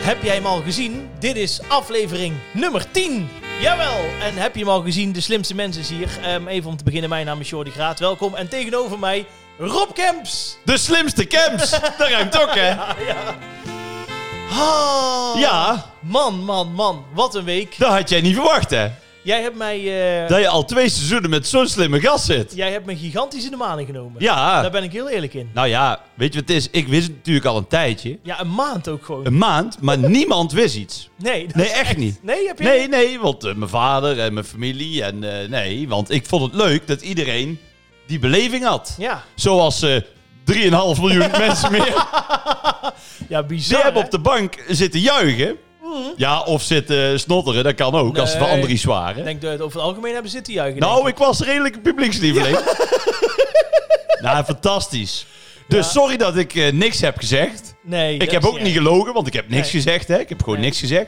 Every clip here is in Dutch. Heb jij hem al gezien? Dit is aflevering nummer 10. Jawel, en heb je hem al gezien? De slimste mensen is hier. Ehm, even om te beginnen, mijn naam is Jordi Graat. Welkom. En tegenover mij, Rob Kemps. De slimste camps. Dat ruimt ook, hè? Ah, Ja, Man, man, man. Wat een week. dat had jij niet verwacht, hè? Jij hebt mij, eh, Dat je al twee seizoenen met zo'n slimme gast zit. jij hebt me gigantisch in de maling genomen. Daar Ja. ben ik heel eerlijk in. Nou ja, weet je wat het is? Ik wist het natuurlijk al een tijdje. Ja, een maand ook gewoon. Een maand, maar niemand wist iets. Nee, dat- Nee, echt niet. nee heb je Nee, nee, want eh, mijn vader en mijn familie en eh, nee, want ik vond het leuk dat iedereen die beleving had. Ja, Zoals eh 3,5 miljoen mensen meer ja Ze bizar. hè? hebben Mhm. op de bank zitten juichen. Ja, of zitten snotteren, dat kan ook, als het Nee. van Andries waren. Ik denk dat we het over het algemeen hebben zitten juichen. denk nou, ik was redelijk een publiekslieveling. nou, fantastisch. Dus Ja. sorry dat ik eh, niks heb gezegd. Nee, dat ik heb is ook niet gelogen, want ik heb niks Nee. gezegd. Hè. Ik heb gewoon Nee. niks gezegd.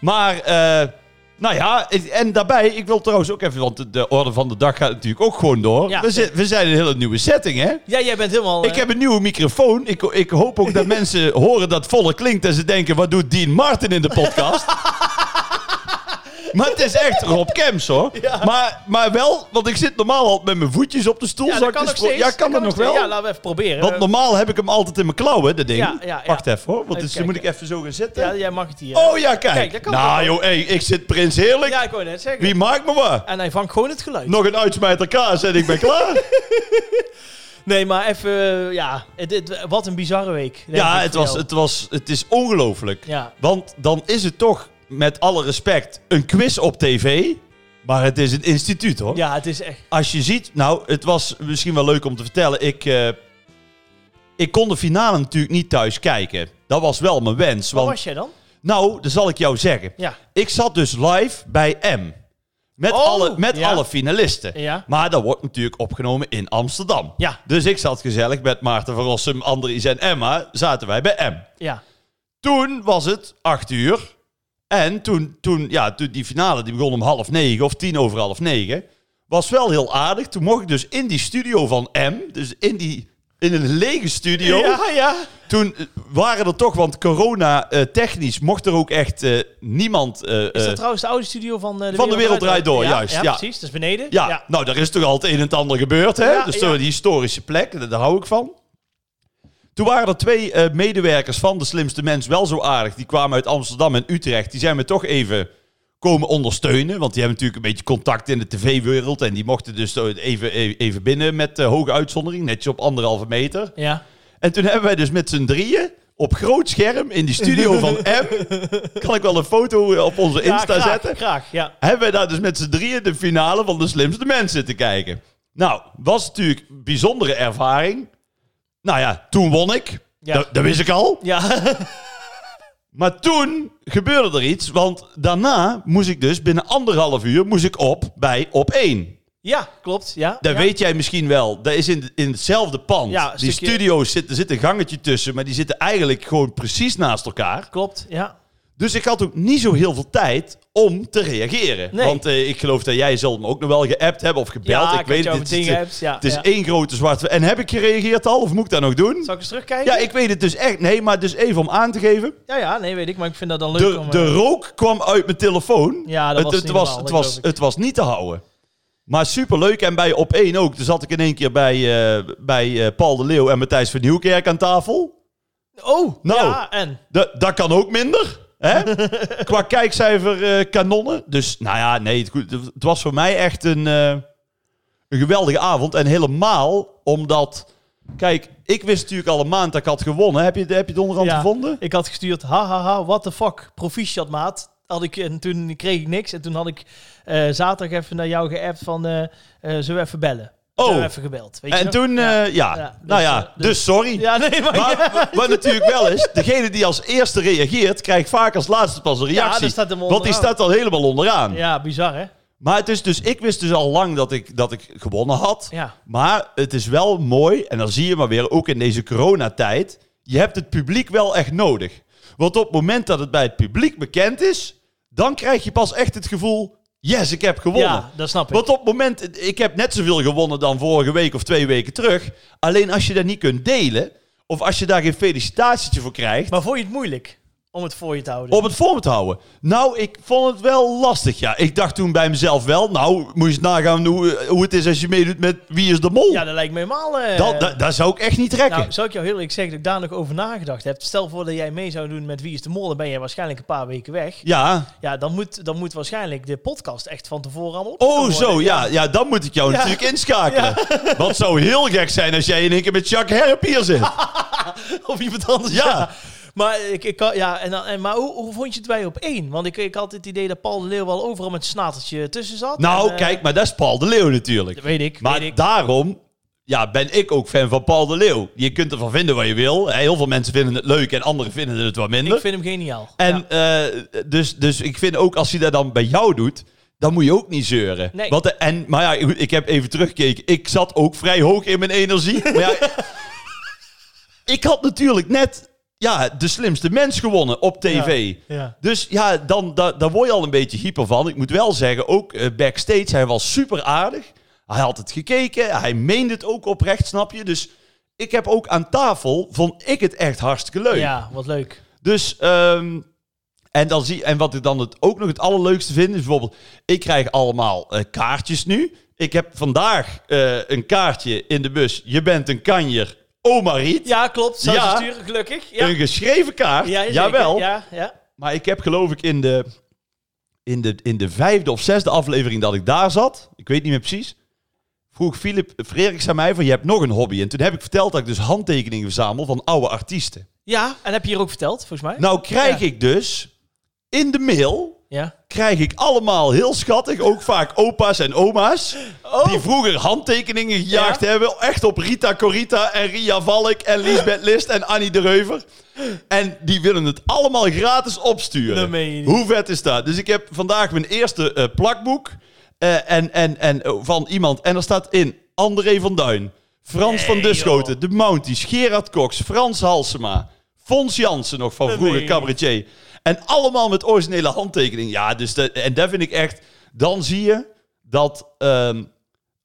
Maar, eh, nou ja, ik- en daarbij, ik wil trouwens ook even, want de, de orde van de dag gaat natuurlijk ook gewoon door. Ja. we, zi- we zijn in een hele nieuwe setting, hè? Ja, jij bent helemaal... Ik eh, heb een nieuwe microfoon. Ik, ik hoop ook dat mensen horen dat het volle klinkt en ze denken: wat doet Dean Martin in de podcast? maar het is echt Rob Kems hoor. Ja. Maar, maar wel, want ik zit normaal altijd met mijn voetjes op de stoel. Ja, dat Zal ik kan de nog spro- steeds. Ja, kan dat nog wel? steeds. Ja, laten we even proberen. want normaal heb ik hem altijd in mijn klauwen, dat ding. Ja, ja, ja. Wacht even hoor, want Even dus dan moet ik kijken. even zo gaan zitten. ja, jij mag het hier. Oh ja, kijk. Kijk, dat kan nou wel. joh, hey, ik zit prins heerlijk. ja, ik wou net zeggen. Wie maakt me wat? En hij vangt gewoon het geluid. Nog een uitsmijter kaas en ik ben klaar. Nee, maar even... eh, Ja, het, het- wat een bizarre week. denk ja, ik het, voor was, jou. het, was, het is ongelooflijk. Ja, Want dan is het toch, met alle respect, een quiz op tv. Maar het is een instituut hoor. ja, het is echt... Als je ziet, nou, het was misschien wel leuk om te vertellen. Ik, eh, ik kon de finale natuurlijk niet thuis kijken. Dat was wel mijn wens. Waar Want, was jij dan? nou, dat zal ik jou zeggen. Ja. Ik zat dus live bij M. Met, Oh, alle, met ja. alle finalisten. Ja. Maar dat wordt natuurlijk opgenomen in Amsterdam. Ja, Dus ik zat gezellig met Maarten van Rossum, Andries en Emma. Zaten wij bij M. ja. Toen was het acht uur. En toen, toen ja, toen die finale die begon om half negen of tien over half negen. Was wel heel aardig. Toen mocht ik dus in die studio van M, dus in, die, in een lege studio. Ja, ja. Toen eh, waren er toch, want corona eh, technisch mocht er ook echt eh, niemand... eh, Is dat eh, trouwens de oude studio van eh, de Van de Wereld Draait Door, juist, Ja, ja. precies. Dat is beneden. ja, nou, daar is toch altijd een en ander gebeurd, hè? Ja, dus ja. toch een historische plek, daar, daar hou ik van. Toen waren er twee eh, medewerkers van De Slimste Mens wel zo aardig. Die kwamen uit Amsterdam en Utrecht. Die zijn me toch even komen ondersteunen. Want die hebben natuurlijk een beetje contact in de tv-wereld. En die mochten dus zo even, even even binnen met eh, hoge uitzondering. Netjes op anderhalve meter. Ja. En toen hebben wij dus met z'n drieën op groot scherm in die studio van M. Kan ik wel een foto eh, op onze Ja, Insta graag, zetten? Graag, ja. hebben wij daar dus met z'n drieën de finale van de slimste mensen te kijken. Nou, was natuurlijk een bijzondere ervaring. Nou ja, toen won ik. Ja. Dat, dat wist ik al. Ja, Maar toen gebeurde er iets, want daarna moest ik dus binnen anderhalf uur moest ik op bij Op 1. ja klopt. Ja, Dat ja. weet jij misschien wel. Dat is in, in hetzelfde pand. Ja, die stukje- studio's zitten, zit een gangetje tussen, maar die zitten eigenlijk gewoon precies naast elkaar. Klopt, ja. Dus ik had ook niet zo heel veel tijd om te reageren. Nee. Want eh, ik geloof dat jij zal me ook nog wel geappt hebben of gebeld. ja, ik weet het. het. Het is, eh, dingen hebt. Ja, het is ja. één grote zwarte... En heb ik gereageerd al? Of moet ik dat nog doen? Zal ik eens terugkijken? Ja, ik weet het dus echt. Nee, maar dus even om aan te geven. Ja, ja, nee, weet ik, maar ik vind dat dan leuk De, om... eh, de rook kwam uit mijn telefoon. Ja, dat was het, niet het, was, normaal, het, dat was, geloof ik. het was niet te houden. Maar superleuk. En bij Op 1 ook. Toen zat ik in één keer bij, eh, bij eh, Paul de Leeuw en Matthijs van Nieuwkerk aan tafel. Oh, Nou. ja, en? Da- dat kan ook minder. Hè? Qua kijkcijfer eh, kanonnen. Dus nou ja, nee, het, goed, het was voor mij echt een, eh, een geweldige avond. En helemaal omdat. Kijk, ik wist natuurlijk al een maand dat ik had gewonnen. Heb je, heb je het onderhand Ja. gevonden? Ik had gestuurd, hahaha, what the fuck, proficiat maat. Had ik, en toen kreeg ik niks. En toen had ik eh, zaterdag even naar jou geappt van, eh eh, zullen we even bellen? Oh. Zullen we even gebeld, weet je En nog? toen, eh, Ja. ja. Ja, dus, nou ja, eh, dus- dus, sorry. ja, nee, maar... Maar wat natuurlijk wel is, degene die als eerste reageert, krijgt vaak als laatste pas een Ja, reactie. dat staat hem want die onderaan. staat al helemaal onderaan. Ja, bizar, hè? Maar het is dus, ik wist dus al lang dat ik, dat ik gewonnen had. Ja. Maar het is wel mooi, en dan zie je maar weer, ook in deze coronatijd, je hebt het publiek wel echt nodig. Want op het moment dat het bij het publiek bekend is, dan krijg je pas echt het gevoel, yes, ik heb gewonnen. Ja, dat snap ik. Want op het moment, ik heb net zoveel gewonnen dan vorige week of twee weken terug. Alleen als je dat niet kunt delen, of als je daar geen felicitatietje voor krijgt, Maar vond je het moeilijk? om het voor je te houden. Om het voor me te houden. Nou, ik vond het wel lastig. Ja, ik dacht toen bij mezelf wel. Nou, moet je eens nagaan hoe, hoe het is als je meedoet met Wie is de Mol. Ja, dat lijkt me helemaal... eh, dat, dat, dat zou ik echt niet trekken. nou, zou ik jou heel eerlijk zeggen dat ik daar nog over nagedacht heb. Stel voor dat jij mee zou doen met Wie is de Mol, dan ben jij waarschijnlijk een paar weken weg. ja. Ja, dan moet, dan moet waarschijnlijk de podcast echt van tevoren allemaal op. Oh, zo, ja. ja. Dan moet ik jou Ja. natuurlijk inschakelen. Wat zou heel gek zijn als jij in één keer met Jacques Herp hier zit. Of iemand anders. Ja. Ja. Maar, ik, ik, kan- ja, en dan, en, maar hoe, hoe vond je het bij op één? Want ik, ik had het idee dat Paul de Leeuw wel overal met een snatertje tussen zat. Nou, En, eh, kijk, maar dat is Paul de Leeuw natuurlijk. Dat weet ik, Maar weet ik. daarom ja, ben ik ook fan van Paul de Leeuw. Je kunt ervan vinden wat je wil. Heel veel mensen vinden het leuk en anderen vinden het wat minder. Ik vind hem geniaal. En eh, dus, dus ik vind ook als hij dat dan bij jou doet, dan moet je ook niet zeuren. Nee. Want, de- en, maar ja, goed, ik heb even teruggekeken. Ik zat ook vrij hoog in mijn energie. Maar ja, ik had natuurlijk net ja, de slimste mens gewonnen op tv. Ja. ja. Dus ja, dan, da- daar word je al een beetje hyper van. Ik moet wel zeggen, ook eh, backstage, hij was super aardig. Hij had het gekeken, hij meende het ook oprecht, snap je? Dus ik heb ook aan tafel, vond ik het echt hartstikke leuk. Ja, wat leuk. Dus, ehm, en, dan zie, en wat ik dan het ook nog het allerleukste vind, is bijvoorbeeld, ik krijg allemaal eh, kaartjes nu. Ik heb vandaag eh, een kaartje in de bus. Je bent een kanjer, oma Riet. Ja, klopt. Zou Ja. ze sturen, gelukkig. Ja. Een geschreven kaart, Ja, zeker. jawel. Ja, ja. Maar ik heb geloof ik in de, in, de, in de vijfde of zesde aflevering dat ik daar zat, ik weet niet meer precies, vroeg Philip Frederiks aan mij van, je hebt nog een hobby. En toen heb ik verteld dat ik dus handtekeningen verzamel van oude artiesten. ja, en heb je hier ook verteld, volgens mij? Nou krijg Ja. ik dus in de mail Ja. krijg ik allemaal heel schattig, ook vaak opa's en oma's, die vroeger handtekeningen gejaagd Oh. Ja? hebben, echt op Rita Corita en Ria Valk en Lisbeth List en Annie de Reuver. En die willen het allemaal gratis Dat opsturen. meen je niet. Hoe vet is dat? Dus ik heb vandaag mijn eerste eh, plakboek eh, en, en, en, eh, van iemand en er staat in André van Duin, Frans van Nee, Duschoten, De Mounties, Gerard Cox, Frans Halsema, Fons Jansen nog van Dat vroeger meen je niet. cabaretier. En allemaal met originele handtekening. Ja, dus dat, en dat vind ik echt. Dan zie je dat ehm,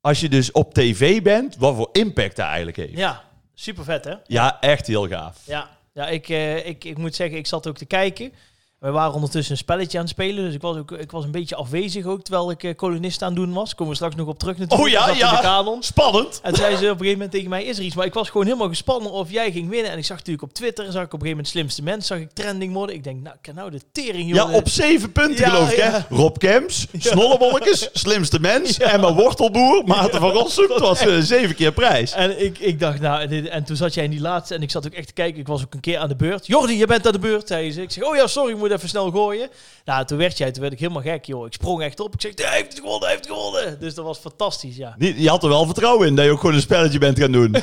als je dus op tv bent, wat voor impact dat eigenlijk heeft. Ja, Ja, super vet, hè? echt heel gaaf. Ja, ja ik, eh, ik, ik moet zeggen, ik zat ook te kijken. We waren ondertussen een spelletje aan het spelen, dus ik was, ook, ik was een beetje afwezig ook, terwijl ik eh, kolonist aan het doen was. Komen we straks nog op terug natuurlijk. Oh ja, Ik zat in ja. de kanon. Spannend. En toen zei ze op een gegeven moment tegen mij, is er iets? Maar ik was gewoon helemaal gespannen of jij ging winnen. En ik zag natuurlijk op Twitter, zag ik op een gegeven moment slimste mens, zag ik trending worden. Ik denk, nou, kan nou de tering, Ja, jongen. op zeven punten Ja, geloof ik. Hè? ja. Rob Kemps, Snollebolletjes, Slimste Mens, Ja. Emma Wortelboer, Maarten van Rossum. Het was eh, zeven keer prijs. En ik, ik dacht, nou, en, dit- en toen zat jij in die laatste en ik zat ook echt te kijken. Ik was ook een keer aan de beurt. Jordi, je bent aan de beurt, zei ze. Ik zeg, oh ja, sorry, ik moet even snel gooien. Nou, toen werd jij, toen werd ik helemaal gek, joh. Ik sprong echt op. Ik zeg, hij heeft het gewonnen, hij heeft het gewonnen. Dus dat was fantastisch, ja. Niet- Je had er wel vertrouwen in dat je ook gewoon een spelletje bent gaan doen.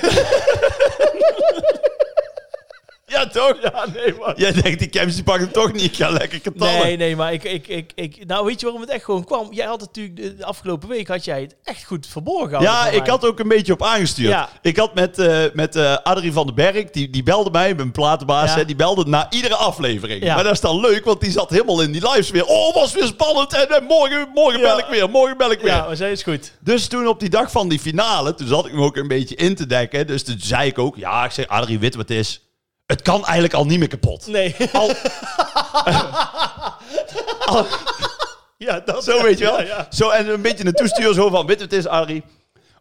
ja, toch? Ja, nee, man. Jij denkt, die Kemps die pakt hem toch niet. Ik ga lekker getallen. Nee, nee, maar ik, ik, ik, ik... Nou, weet je waarom het echt gewoon kwam? Jij had natuurlijk... De de afgelopen week had jij het echt goed verborgen. gehouden Ja, van ik mij. had ook een beetje op aangestuurd. Ja. Ik had met, eh met eh, Adrie van den Berg, die, die belde mij, mijn platenbaas, Ja. hè, die belde na iedere aflevering. Ja. Maar dat is dan leuk, want die zat helemaal in die lives weer. Oh, was weer spannend. En, eh, morgen, morgen Ja. bel ik weer, morgen bel ik weer. Ja, maar zij is goed. Dus toen op die dag van die finale, toen zat ik me ook een beetje in te dekken. Dus toen zei ik ook, ja, ik zeg, Adrie, weet wat het is? Het kan eigenlijk al niet meer kapot. Nee. Al... Al- Ja, dat zo weet je wel. Ja, ja. Zo, en een beetje een toestuur zo van, weet je wat het is, Adrie?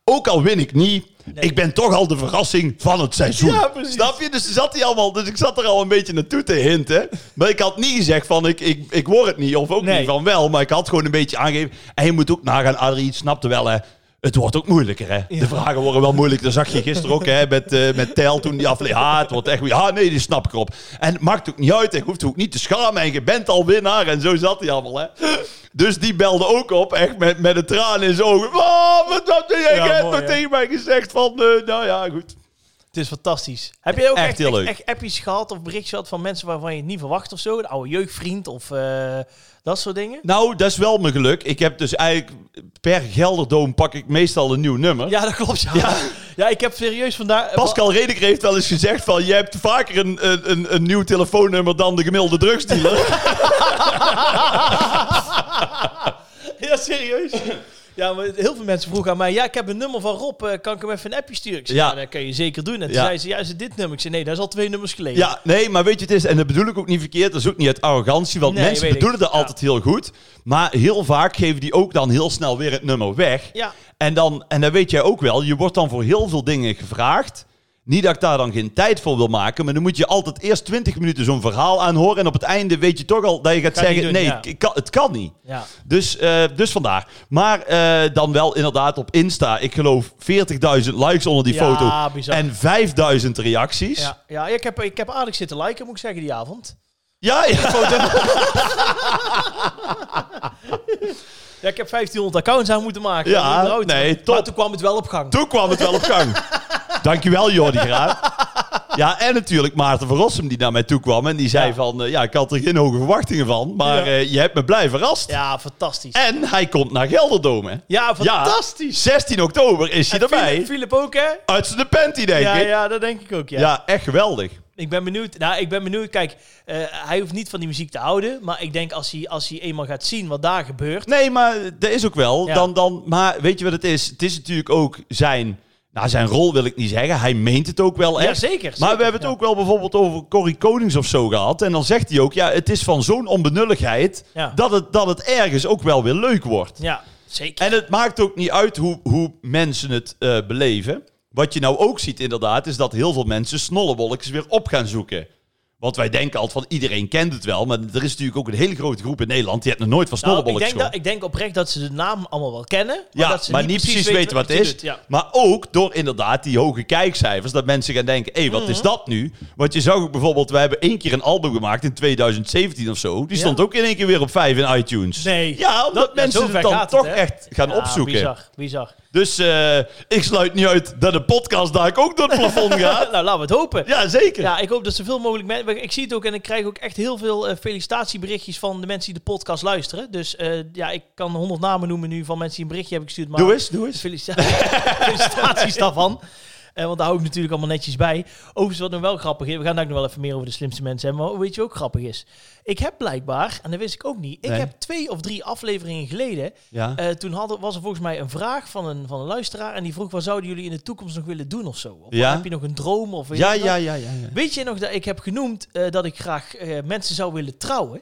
Ook al win ik niet, ik ben toch al de verrassing van het seizoen. Ja, precies. Snap je? Dus, zat hij allemaal, dus ik zat er al een beetje naartoe te hinten. Maar ik had niet gezegd van, ik, ik, ik word het niet. Of ook Nee. niet van wel, maar ik had gewoon een beetje aangegeven. En je moet ook nagaan, Adrie, je snapt wel hè. Het wordt ook moeilijker, hè? De vragen worden wel moeilijk. Dat zag je gisteren ook, hè? Met, eh met Tel toen die aflevering. Ah, het wordt echt... moeilijk. Ah, nee, die snap ik erop. En het maakt ook niet uit. En je hoeft ook niet te schamen. En je bent al winnaar. En zo zat hij allemaal, hè? Dus die belde ook op, echt met, met een traan in zijn ogen. Ah, wat heb jij Ja, net mooi, nog hè? tegen mij gezegd van... eh, nou ja, goed. Het is fantastisch. Heb jij ook Echt echt, heel echt, leuk. echt appies gehad of berichtjes gehad van mensen waarvan je het niet verwacht of zo? Een oude jeugdvriend of eh, dat soort dingen? Nou, dat is wel mijn geluk. Ik heb dus eigenlijk... Per Gelderdoom pak ik meestal een nieuw nummer. Ja, dat klopt. Ja, Ja. ja. ik heb serieus vandaag... Pascal Redeker heeft wel eens gezegd van... je hebt vaker een, een, een, een nieuw telefoonnummer dan de gemiddelde drugsdealer. Ja, serieus. Ja, maar heel veel mensen vroegen aan mij, ja, ik heb een nummer van Rob, eh, kan ik hem even een appje sturen? Ik zei, Ja. ja, dat kan je zeker doen. En toen Ja. zei ze, ja, is het dit nummer? Ik zei, nee, dat is al twee nummers geleden. Ja, nee, maar weet je, het is, en dat bedoel ik ook niet verkeerd, dat is ook niet uit arrogantie, want Nee, mensen weet ik. bedoelen dat Ja. altijd heel goed, maar heel vaak geven die ook dan heel snel weer het nummer weg. Ja. En, dan, en dan weet jij ook wel, je wordt dan voor heel veel dingen gevraagd. Niet dat ik daar dan geen tijd voor wil maken, maar dan moet je altijd eerst 20 minuten zo'n verhaal aanhoren. En op het einde weet je toch al dat je gaat Ga het zeggen: niet doen, nee, ja. ik kan- het kan niet. Ja. Dus, eh, dus vandaar. Maar eh, dan wel inderdaad op Insta. Ik geloof 40.000 likes onder die Ja, foto. bizar. En 5000 reacties. Ja, ja, ik, heb, ik heb aardig zitten liken, moet ik zeggen, die avond. ja. ja. Ja, ik heb 1500 accounts aan moeten maken. Ja, om onderhoud te nee, maken. top. Maar toen kwam het wel op gang. Toen kwam het wel op gang. Dankjewel, Jordi Graaf. Ja, en natuurlijk Maarten van Rossum die naar mij toe kwam. En die zei Ja. van, eh, ja, ik had er geen hoge verwachtingen van. Maar Ja. eh, je hebt me blij verrast. Ja, fantastisch. En hij komt naar Gelderdoom, hè. Ja, Ja. fantastisch. 16 oktober is hij En Philip- erbij. Philip ook, hè? Uit zijn panty, denk Ja, ik. Ja. ja, dat denk ik ook, ja. echt geweldig. Ik ben benieuwd. Nou, ik ben benieuwd. Kijk, eh, hij hoeft niet van die muziek te houden. Maar ik denk als hij, als hij eenmaal gaat zien wat daar gebeurt. Nee, maar dat is ook wel. Ja. Dan, dan, maar weet je wat het is? Het is natuurlijk ook zijn... Nou, zijn rol wil ik niet zeggen. Hij meent het ook wel Ja, echt. zeker. Maar we hebben het ook wel bijvoorbeeld over Corrie Konings of zo gehad. En dan zegt hij ook, ja, het is van zo'n onbenulligheid Ja. dat, het, dat het ergens ook wel weer leuk wordt. Ja, zeker. En het maakt ook niet uit hoe, hoe mensen het eh, beleven. Wat je nou ook ziet inderdaad, is dat heel veel mensen snollebolletjes weer op gaan zoeken. Want wij denken altijd van iedereen kent het wel, maar er is natuurlijk ook een hele grote groep in Nederland die heeft nog nooit van Nou, ik, snollebolletjes denk dat, gehoord. ik denk oprecht dat ze de naam allemaal wel kennen. Maar Ja, dat ze maar niet precies weten wat het hij is. doet, Ja. Maar ook door inderdaad die hoge kijkcijfers. Dat mensen gaan denken, hé, wat Mhm. is dat nu? Want je zag ook bijvoorbeeld, wij hebben één keer een album gemaakt in 2017 of zo. Die Ja. stond ook in één keer weer op 5 in iTunes. Nee. Ja, omdat Dat- ja, mensen zover het dan gaat het, toch hè? echt gaan Ja, opzoeken. Bizar, bizar. Dus eh, ik sluit niet uit dat de podcast daar ook door het plafond gaat. Nou, laten we het hopen. Ja, zeker. Ja, ik hoop dat zoveel mogelijk mensen. Ik zie het ook en ik krijg ook echt heel veel eh, felicitatieberichtjes van de mensen die de podcast luisteren. Dus eh, ja, ik kan honderd namen noemen nu van mensen die een berichtje hebben gestuurd. Maar Doe eens, doe eens. Felicitaties, felicitaties daarvan. Eh, want daar hou ik natuurlijk allemaal netjes bij. Overigens, wat nog wel grappig is, we gaan daar ook nog wel even meer over de slimste mensen hebben. Maar weet je wat ook grappig is? Ik heb blijkbaar, en dat wist ik ook niet, ik Nee. heb twee of drie afleveringen geleden. Ja. eh, toen hadden, was er volgens mij een vraag van een, van een luisteraar. En die vroeg: wat zouden jullie in de toekomst nog willen doen of zo? Of Ja. heb je nog een droom? Of weet Ja, je wat? ja, ja, ja, ja. Weet je nog dat ik heb genoemd eh, dat ik graag eh, mensen zou willen trouwen?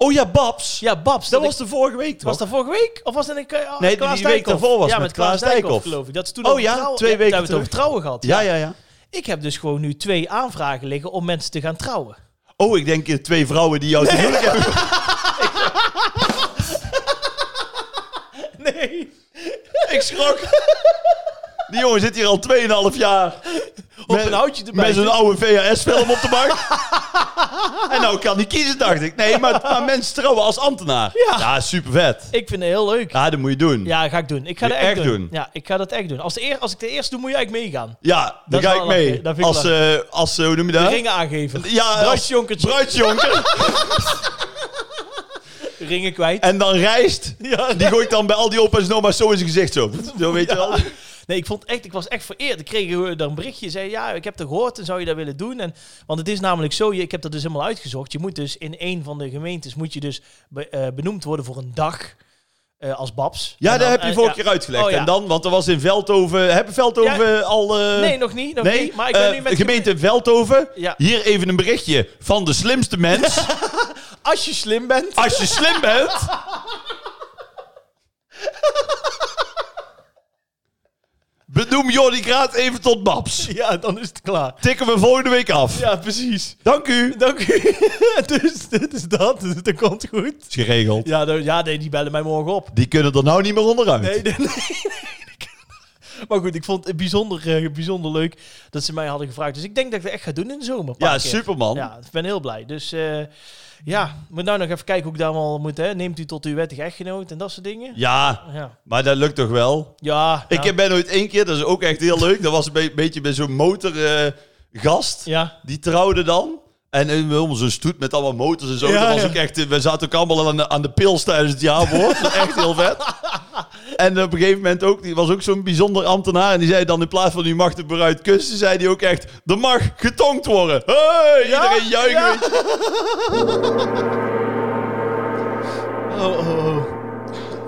Oh ja, Babs. Ja, Babs. dat ik- was de vorige week toch? was dat vorige week? Of was dat een uh, Nee, die Klaas week Dijkhoff? daarvoor was ja, met met Klaas, Klaas Dijkhoff, Dijkhoff. geloof ik. Dat is toen Oh over ja, trouwen- twee daar weken hebben we het over terug. trouwen gehad. Ja, ja, ja. Ik heb dus gewoon nu twee aanvragen liggen om mensen te gaan trouwen. Oh, ik denk eh, twee vrouwen die jou te huwelijk hebben. Nee. Ik schrok. Die jongen zit hier al 2,5 jaar. Op een houtje erbij. Met zo'n oude VHS-film op de bank. en nou kan hij kiezen, dacht ik. Nee, maar, maar mensen trouwen als ambtenaar. Ja. super vet. Ik vind het heel leuk. Ja, Ja, dat moet je doen. Ja, ga ik doen. Ik ga Moet dat je echt echt doen. doen. Ja, ik ga dat echt doen. Als, de eer, als ik de eerste doe, moet je eigenlijk meegaan. daar Dat ga is ik wel mee. lachen. Dat vind ik als, eh, als, eh, hoe noem je dat? Ringen aangeven. Ja, als- Bruidsjonkertje. bruidsjonker. Ringen kwijt. en dan rijst. Ja. Die gooi ik dan bij al die opa's en oma's zo in zijn gezicht zo. Zo weet je wel. Nee, ik, vond echt, ik was echt vereerd. Ik kreeg eh, daar een berichtje. Zei, ja, ik heb het gehoord en zou je dat willen doen? En, want het is namelijk zo, je, ik heb dat dus helemaal uitgezocht. Je moet dus in een van de gemeentes moet je dus be- eh, benoemd worden voor een dag eh, als babs. Ja, En dat dan, heb je eh, vorige ja. keer uitgelegd. Oh, ja. En dan, want er was in Veldhoven... Hebben Veldhoven al... eh, Nee, nog niet. Nog nee, niet. Maar ik ben eh, nu met gemeente Veldhoven. Ja. Hier even een berichtje van de slimste mens. Als je slim bent. Als je slim bent. Benoem Jordi Graat even tot Babs. Ja, dan is het klaar. Tikken we volgende week af. Ja, precies. Dank u. Dank u. dus dit is dat. Dus dat komt goed. Is geregeld. Ja, dan- ja nee, die bellen mij morgen op. Die kunnen er nou niet meer onderuit. Nee, nee, nee. Maar goed, ik vond het bijzonder, eh, bijzonder leuk dat ze mij hadden gevraagd. Dus ik denk dat ik het echt ga doen in de zomer. een paar ja, keer. superman. Ja, ik ben heel blij. Dus eh, ja, moet nou nog even kijken hoe ik daar allemaal moet. Hè. Neemt u tot uw wettig echtgenoot en dat soort dingen? Ja, Ja. maar dat lukt toch wel? Ja. Ik heb ben ooit één keer, dat is ook echt heel leuk. Dat was een be- beetje bij zo'n motorgast. Ja. Die trouwde dan. En eh, helemaal zo'n stoet met allemaal motors en zo. Ja, dat was ja. ook echt, eh, we zaten ook allemaal aan de, aan de pils tijdens het jaarwoord. Dat is echt heel vet. En op een gegeven moment ook, die was ook zo'n bijzonder ambtenaar. En die zei dan in plaats van u mag de bruid kussen, zei hij ook echt, er mag getongd worden. Hey, Ja? iedereen juichen. Ja. weet je. Oh, oh, oh.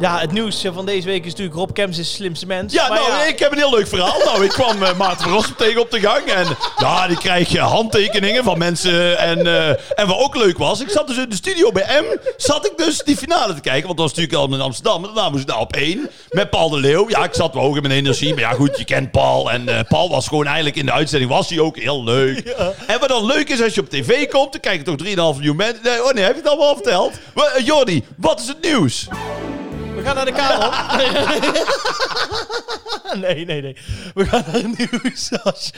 Ja, het nieuws eh, van deze week is natuurlijk Rob Kems is de slimste mens. Ja, Maar nou, ik heb een heel leuk verhaal. Nou, ik kwam eh Maarten van Rossum tegen op de gang. En ja, die krijg je handtekeningen van mensen. En, eh, en wat ook leuk was, ik zat dus in de studio bij M. Zat ik dus die finale te kijken. Want dat was natuurlijk al in Amsterdam. En daarna moest ik nou op één. Met Paul de Leeuw. Ja, ik zat wel hoog in mijn energie. Maar ja, goed, je kent Paul. En eh, Paul was gewoon eigenlijk in de uitzending. Was hij ook heel leuk. En wat dan leuk is, als je op tv komt, dan kijken toch 3,5 miljoen mensen. Nee, oh nee, heb je het allemaal al verteld? Maar, eh, Jordi, wat is het nieuws? We gaan naar de kamer. nee, nee, nee. We gaan naar het nieuws. Sas.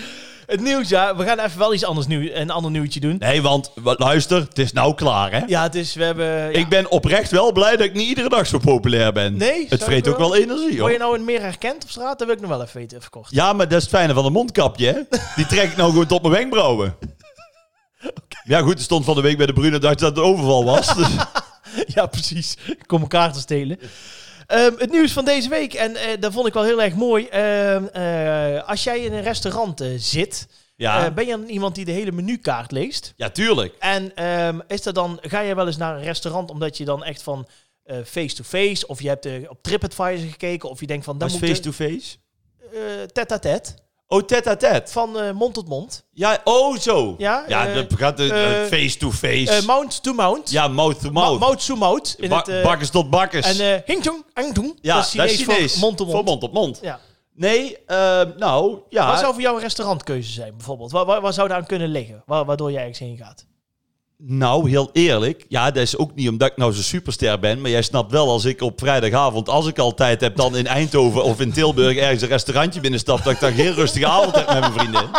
Het nieuws, ja. We gaan even wel iets anders nieuw, een ander nieuwtje doen. Nee, want wa- luister, het is nou klaar, hè? Ja, het is, we hebben... ja. Ik ben oprecht wel blij dat ik niet iedere dag zo populair ben. Nee, Het snap vreet ik ook wel. wel energie, Word je hoor. nou een meer herkend op straat? Dat wil ik nog wel even weten, even kort. Ja, maar dat is het fijne van een mondkapje, hè? Die trek ik nou gewoon tot mijn wenkbrauwen. Ja, goed, er stond van de week bij de Brune dat dat een overval was. Dus Ja, precies. Ik kom elkaar te stelen. Ehm, het nieuws van deze week, en eh dat vond ik wel heel erg mooi. Ehm, eh, als jij in een restaurant eh, zit, ja. eh, ben je dan iemand die de hele menukaart leest? ja, tuurlijk. En ehm, is dat dan, ga je wel eens naar een restaurant omdat je dan echt van eh, face-to-face, of je hebt eh, op TripAdvisor gekeken, of je denkt van, dan Was moet eh, face-to-face? tête-à-tête, Oh, tête-à-tête. van eh, mond tot mond, Ja, oh, zo. Ja, eh, dat gaat de- de eh, face-to-face. Eh, mount to mount, ja, mouth-to-mouth. mouth. mouth to mouth, in Ba- het, eh, bakkers tot bakkers. en eh hing chong, ang chong, ja, dat is Chinees, Chinees. voor mond tot Van mond. mond tot mond. Ja. Nee, ehm, nou, ja. Wat zou voor jou een restaurantkeuze zijn, bijvoorbeeld? Waar, waar, waar zou daar aan kunnen liggen, Wa- waardoor jij ergens heen gaat? Nou, heel eerlijk. Ja, dat is ook niet omdat ik nou zo'n superster ben. Maar jij snapt wel, als ik op vrijdagavond, als ik al tijd heb, dan in Eindhoven of in Tilburg ergens een restaurantje binnenstap, dat ik dan geen rustige avond heb met mijn vrienden.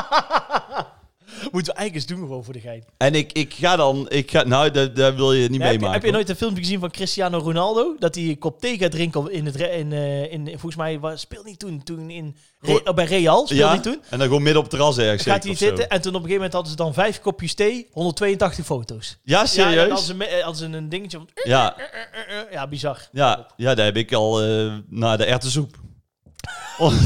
Moeten we eigenlijk eens doen gewoon voor de gein. En ik, ik ga dan, ik ga, nou, dat, dat wil je niet heb, je, meemaken. heb je nooit een filmpje gezien van Cristiano Ronaldo? Dat hij een kop thee gaat drinken in het... re- In, eh, in, volgens mij was- speelde hij toen, toen in, Re- Ro- bij Real. hoor. Speelde ja? hij toen. En dan gewoon midden op het terras ergens. Gaat zeker hij of zo. zitten en toen op een gegeven moment hadden ze dan vijf kopjes thee, 182 foto's. Ja, Ja, en dan hadden serieus? ze, me- eh, hadden ze een dingetje van... Ja, eh, eh, Ja, bizar. ja, ja, daar heb ik al eh, naar de erwtensoep. Want-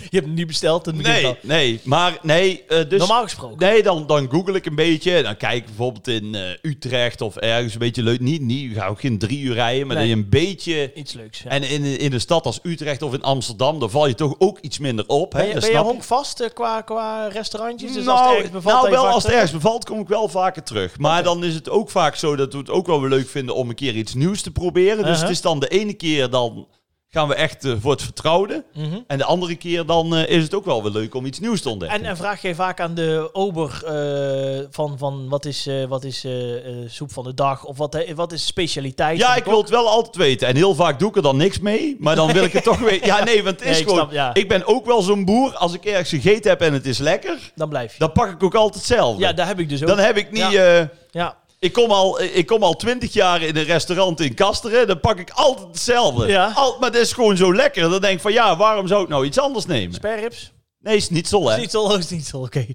Je hebt hem niet besteld. in het begin nee, wel. nee, maar nee, eh, dus... Normaal gesproken. Nee, dan, dan google ik een beetje. En Dan kijk ik bijvoorbeeld in eh, Utrecht of ergens een beetje leuk. Niet, niet, ga ook geen drie uur rijden, maar Nee. dat je een beetje... Iets leuks. Ja. En in, in een stad als Utrecht of in Amsterdam, dan val je toch ook iets minder op. Hè? Ben je, Dat ben je snap honkvast eh, qua, qua restaurantjes? Dus als het nou, ergens bevalt, nou dan je wel, vaak als het terug? ergens bevalt, kom ik wel vaker terug. Maar dan is het ook vaak zo dat we het ook wel weer leuk vinden om een keer iets nieuws te proberen. Dus Uh-huh. het is dan de ene keer dan gaan we echt eh, voor het vertrouwde. Mhm. En de andere keer dan eh, is het ook wel weer leuk om iets nieuws te ontdekken. En, en vraag jij vaak aan de ober eh, van, van wat is, eh, wat is eh, eh, soep van de dag? Of wat, eh, wat is specialiteit? Ja, van de ik wil het wel altijd weten. En heel vaak doe ik er dan niks mee. Maar dan wil ik het toch weten. Ja, nee, want het is Nee, ik gewoon... snap, ja. Ik ben ook wel zo'n boer. Als ik ergens gegeten heb en het is lekker, kok? Dan blijf je. dan pak ik ook altijd hetzelfde. ja, daar heb ik dus ook. dan heb ik niet... eh, ja. ik kom, al, eh, ik kom al twintig jaar in een restaurant in Kasteren. Dan pak ik altijd hetzelfde. Ja. Al, maar dat is gewoon zo lekker. Dan denk ik van ja, waarom zou ik nou iets anders nemen? Sperrips? Nee, is niet zo hè? Niet zo, is niet zo. Oké.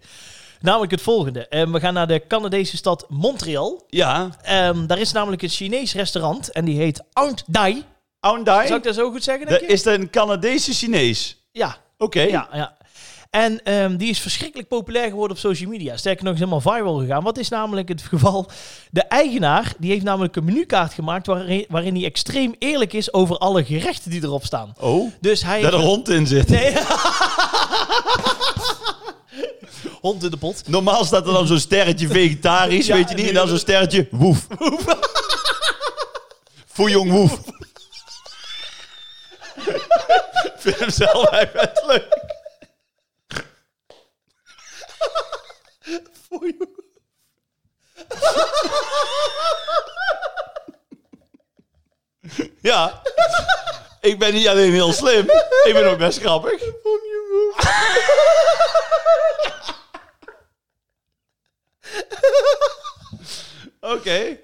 Namelijk het volgende. Eh, we gaan naar de Canadese stad Montreal. Ja. Ehm, daar is namelijk een Chinees restaurant en die heet Aunt Dai. Zou Aundai. ik dat zo goed zeggen? Denk Dat je? is dat een Canadese Chinees? Ja, Oké. Ja, ja. En ehm, die is verschrikkelijk populair geworden op social media. Sterker nog, is helemaal viral gegaan. Wat is namelijk het geval? De eigenaar die heeft namelijk een menukaart gemaakt waarin, waarin hij extreem eerlijk is over alle gerechten die erop staan. Oh, Dus hij dat er hond in zit. Nee. hond in de pot. Normaal staat er dan zo'n sterretje vegetarisch, Ja, weet je niet? nu- En dan zo'n sterretje woef. Foejong woef. Ik vind hem zelf eigenlijk best leuk. Ja. Ik ben niet alleen heel slim, ik ben ook best grappig. Oké.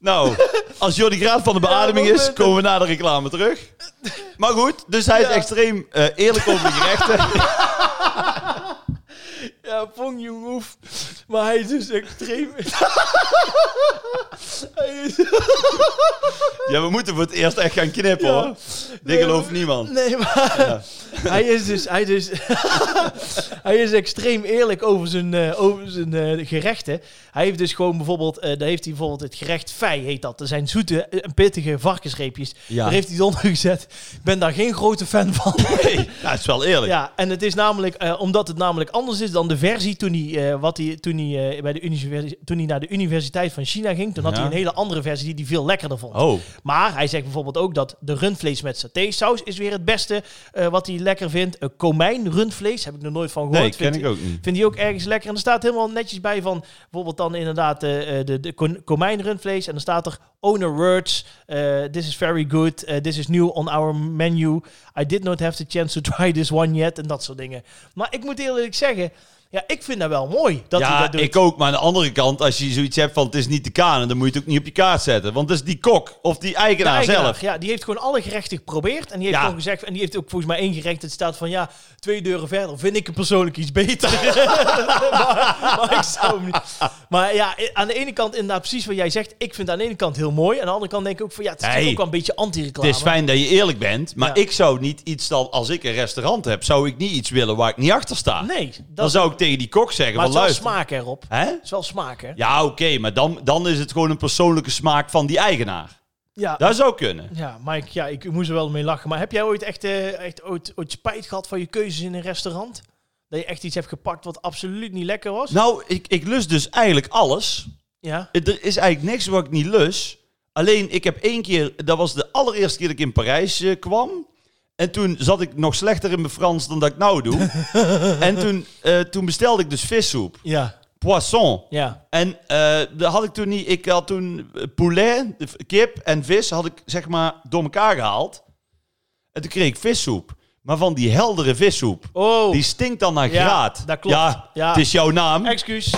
Nou, als Jordi Graaf van de beademing Ja, is, momenten. komen we na de reclame terug. Maar goed, dus hij is Ja. extreem eh, eerlijk over de gerechten. Ja, Pong Jong Oef. Maar hij is dus extreem. hij is... Ja, we moeten voor het eerst echt gaan knippen Ja. hoor. Dit Nee, gelooft maar- niemand. Nee, maar hij is dus, hij, dus hij is extreem eerlijk over zijn, eh, over zijn eh, gerechten. Hij heeft dus gewoon bijvoorbeeld, eh daar heeft hij bijvoorbeeld het gerecht fei heet dat. Dat zijn zoete en pittige varkensreepjes. Ja. Daar heeft hij het onder gezet. Ik ben daar geen grote fan van. Nee, ja, het is wel eerlijk. Ja, en het is namelijk, eh, omdat het namelijk anders is dan de versie toen hij, eh, wat hij, toen hij, eh, bij de universi- toen hij naar de Universiteit van China ging. Toen had Ja. hij een hele andere versie die hij veel lekkerder vond. Oh, Maar hij zegt bijvoorbeeld ook dat de rundvlees met satésaus is weer het beste eh, wat hij lekker vindt. Eh komijn rundvlees, heb ik nog nooit van gehoord. nee, ken Vindt- ik ook niet. Vindt hij ook ergens lekker. En er staat helemaal netjes bij van bijvoorbeeld dan inderdaad eh, eh, de, de kon- komijnrundvlees. En dan staat er owner words. eh, this is very good. eh, this is new on our menu. I did not have the chance to try this one yet. En dat soort dingen. Maar ik moet eerlijk zeggen, ja, ik vind dat wel mooi dat hij ja, dat doet. ik ook. Maar aan de andere kant, als je zoiets hebt van het is niet de kanen, dan moet je het ook niet op je kaart zetten. Want dat is die kok of die De eigenaar, eigenaar, zelf. Ja, die heeft gewoon alle gerechten geprobeerd. En die heeft Ja. gewoon gezegd. En die heeft ook volgens mij één gerecht. Het staat van ja, twee deuren verder. Vind ik hem persoonlijk iets beter. maar, maar ik zou hem niet. Maar ja, i- aan de ene kant inderdaad precies wat jij zegt. Ik vind het aan de ene kant heel mooi. Aan de andere kant denk ik ook van ja, het is Nee. natuurlijk ook wel een beetje Het anti-reclame. is fijn dat je eerlijk bent, maar Ja. ik zou niet iets dan, als ik een restaurant heb, zou ik niet iets willen waar ik niet achter sta. Nee, dan dat, zou ik tegen die kok zeggen, maar van het is wel luister. smaak erop. Het Hè? is wel smaak, hè? Ja. Ja, oké, maar dan, dan is het gewoon een persoonlijke smaak van die eigenaar. ja. Dat zou kunnen. Mike, ja, ik moest er wel mee lachen. Maar heb jij ooit echt, eh, echt ooit, ooit spijt gehad van je keuzes in een restaurant? Dat je echt iets hebt gepakt wat absoluut niet lekker was? Nou, ik, ik lust dus eigenlijk alles. Ja. Eh, Er is eigenlijk niks wat ik niet lus. Alleen, ik heb één keer, dat was de allereerste keer dat ik in Parijs eh, kwam. En toen zat ik nog slechter in mijn Frans dan dat ik nou doe. en toen, eh, toen bestelde ik dus vissoep, Ja. poisson. Ja. En eh dat had ik toen niet. Ik had toen eh, poulet, de v- kip en vis had ik zeg maar door elkaar gehaald. En toen kreeg ik vissoep. Maar van die heldere vissoep. Oh, Die stinkt dan naar Ja, graad. dat klopt. Ja, Ja. het is jouw naam. excuus.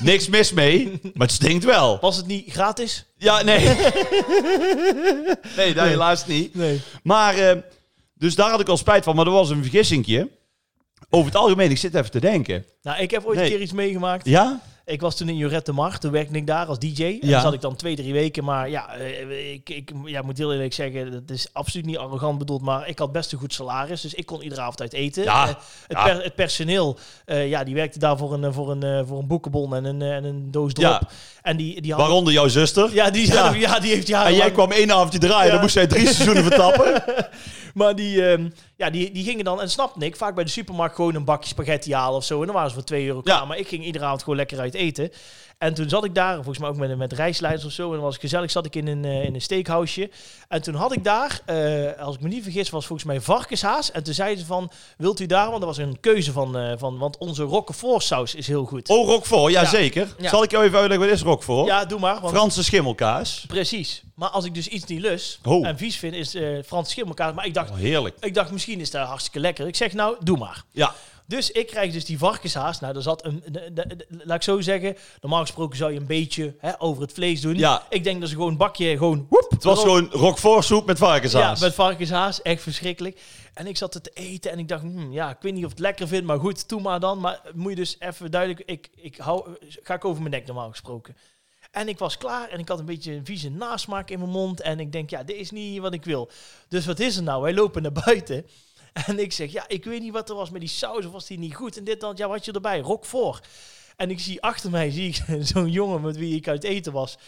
Niks mis mee. Maar het stinkt wel. Was het niet gratis? Ja, nee. nee, dat helaas niet. Nee. Maar, eh, dus daar had ik al spijt van. Maar dat was een vergissingje. Over het algemeen, ik zit even te denken. Nou, ik heb ooit Nee. een keer iets meegemaakt. Ja? Ik was toen in Jorette Mar, toen werkte ik daar als DJ. En Ja. daar zat ik dan twee, drie weken. Maar ja, eh, ik, ik ja, moet heel eerlijk zeggen, dat is absoluut niet arrogant bedoeld. Maar ik had best een goed salaris, dus ik kon iedere avond uit eten. Ja, Eh, het, ja. per- het personeel, eh, ja, die werkte daar voor een, eh, voor een, eh, voor een boekenbon en een, eh, en een doos drop. Ja. En die, die had... Waaronder jouw zuster. Ja, die, Ja. ja. die heeft En jarenlang... jij kwam één avondje draaien. Ja. Dan moest jij drie seizoenen vertappen. Maar die, ehm, ja, die, die gingen dan, en snapte ik, vaak bij de supermarkt gewoon een bakje spaghetti halen of zo. En dan waren ze voor 2 euro klaar. Ja. Maar ik ging iedere avond gewoon lekker uit eten. En toen zat ik daar, volgens mij ook met, met reisleiders of zo. En dan was ik gezellig, zat ik in een, eh, in een steakhouse. En toen had ik daar, eh, als ik me niet vergis, was volgens mij varkenshaas. En toen zeiden ze van, wilt u daar? Want er was een keuze van, eh, van want onze roquefort saus is heel goed. Oh, Roquefort, ja, Ja. zeker. Ja. Zal ik jou even uitleggen wat is Roquefort? Ja, doe maar. Want Franse schimmelkaas. Precies. Maar als ik dus iets niet lust Oh. en vies vind, is eh Frans schimmelkaas. Maar ik dacht, Oh, heerlijk. ik dacht, misschien is dat hartstikke lekker. Ik zeg, nou, doe maar. Ja, Dus ik krijg dus die varkenshaas. Nou, daar zat een. de- de- de- laat ik zo zeggen. Normaal gesproken zou je een beetje hè, over het vlees doen. Ja. Ik denk dat ze gewoon een bakje gewoon. Woep, het was gewoon Roquefort soep met Ja, varkenshaas. met varkenshaas. Echt verschrikkelijk. En ik zat het te eten en ik dacht, hmm, ja, ik weet niet of ik het lekker vind, maar goed, doe maar dan. Maar moet je dus even duidelijk, ik, ik hou, ga ik over mijn nek normaal gesproken. En ik was klaar en ik had een beetje een vieze nasmaak in mijn mond. En ik denk, ja, dit is niet wat ik wil. Dus wat is er nou? Wij lopen naar buiten. En ik zeg, ja, ik weet niet wat er was met die saus. Of was die niet goed? En dit dan, ja, wat had je erbij? Rok voor. En ik zie achter mij zie ik zo'n jongen met wie ik uit eten was.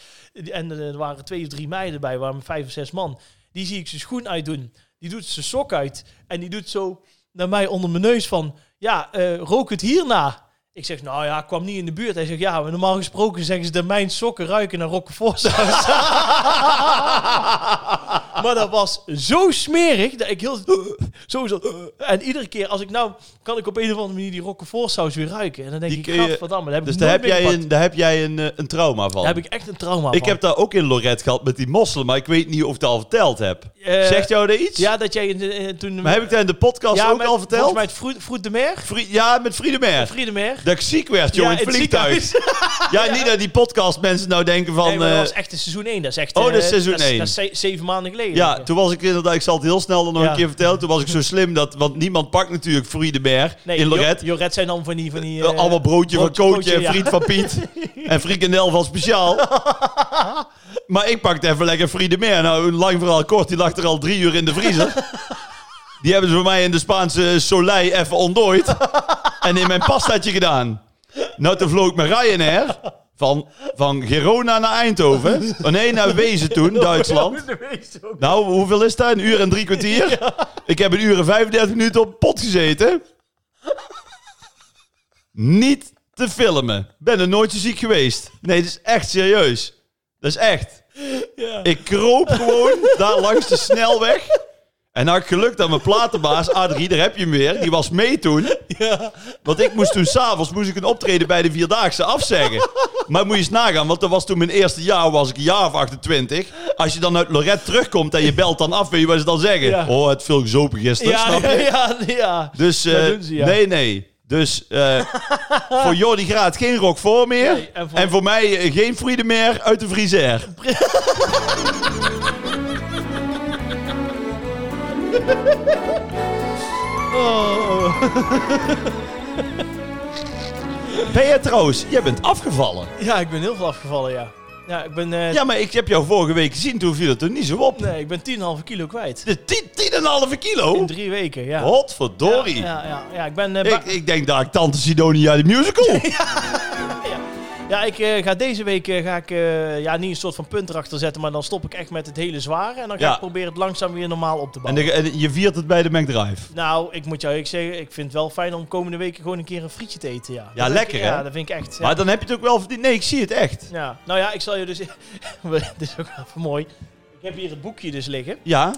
En er waren twee of drie meiden bij, waren vijf of zes man. Die zie ik zijn schoen uitdoen. Die doet zijn sok uit. En die doet zo naar mij onder mijn neus van... Ja, eh, rook het hierna. Ik zeg, nou ja, ik kwam niet in de buurt. Hij zegt, ja, maar normaal gesproken zeggen ze dat mijn sokken ruiken naar Roquefort saus. maar dat was zo smerig dat ik heel... Zo, zo, en iedere keer als ik nou... Kan ik op een of andere manier die Roquefort saus weer ruiken. En dan denk Die kun ik, je- gadverdamme, dat heb dus ik daar nooit heb, jij meegepakt. een, daar heb jij een, eh, een trauma van. Daar heb ik echt een trauma Ik van. heb daar ook in Lorette gehad met die mosselen, maar ik weet niet of ik dat al verteld heb. Eh, Zegt jou dat iets? Ja, dat jij in de- eh, toen... Maar heb ik dat in de podcast ja, ook met- al verteld? Volgens mij het Froet- Froet de Mer. Vri- ja, met Friedemer. Friedemer. Dat ik ziek werd, joh, in het vliegtuig. ja, niet dat die podcast mensen nou denken van... Nee, maar dat eh, was echt in seizoen 1. Dat is echt... Oh, dat is eh, seizoen dat is- één. Dat is ze- zeven maanden geleden. tegen. Ja, toen was ik inderdaad, ik zal het heel snel dan nog Ja. een keer vertellen. Toen was ik zo slim dat, want niemand pakt natuurlijk Free de Beer nee, in Jo- Lorette. Joret zijn dan van die... Van die eh, Allemaal broodje, broodje- van Kootje broodje, en ja. friet van Piet. en frikandel van Speciaal. maar ik pakte even lekker Free de Beer. Nou, lang verhaal kort, die lag er al drie uur in de vriezer. die hebben ze bij mij in de Spaanse Soleil even ontdooid. en in mijn pastaatje gedaan. Nou, toen vloog ik met Ryanair van, van Girona naar Eindhoven. Oh nee, naar Wezen toen, Duitsland. Nou, hoeveel is dat? Een uur en drie kwartier? Ik heb een uur en 35 minuten op pot gezeten. Niet te filmen. Ben er nooit zo ziek geweest. Nee, dat is echt serieus. Dat is echt. Ja. Ik kroop gewoon daar langs de snelweg. En had ik geluk dat mijn platenbaas, Adrie, daar heb je hem weer. Die was mee toen. Ja. Want ik moest toen s'avonds moest ik een optreden bij de Vierdaagse afzeggen. Maar moet je eens nagaan, want dat was toen mijn eerste jaar, was ik een jaar of 28. Als je dan uit Lorette terugkomt en je belt dan af, weet je wat ze dan zeggen? Ja. Oh, het veel gezopen gisteren, Ja, snap je? ja, ja, ja. Dus, eh, Dat doen ze, ja. nee, nee. Dus eh, voor Jordi Graat geen rock voor meer. Nee, en, en voor... voor- mij eh, geen vrienden meer uit de vriezer. Oh. Ben jij trouwens, jij bent afgevallen. Ja, ik ben heel veel afgevallen, ja. Ja, ik ben... eh, Ja, maar ik heb jou vorige week gezien, toen viel het toen niet zo op. Nee, ik ben 10,5 kilo kwijt. De 10, 10,5 kilo? In drie weken, ja. Godverdorie. Ja, ja, ja, ja, ik ben... eh, Ik, ba- ik denk dat ik Tante Sidonia de musical. Ja, ik eh, ga deze week eh, ga ik, eh, ja, niet een soort van punt erachter zetten, maar dan stop ik echt met het hele zware. En dan ga Ja. ik proberen het langzaam weer normaal op te En, bouwen. de- en je viert het bij de McDrive. Nou, ik moet jou eerlijk zeggen, ik vind het wel fijn om komende weken gewoon een keer een frietje te eten. Ja, Dat vind lekker, ik, hè? Ja, dat vind ik echt. ja. Maar dan heb je het ook wel verdiend. Nee, ik zie het echt. Ja. Nou ja, ik zal je dus... Dit is ook wel even mooi. Ik heb hier het boekje dus liggen. Ja.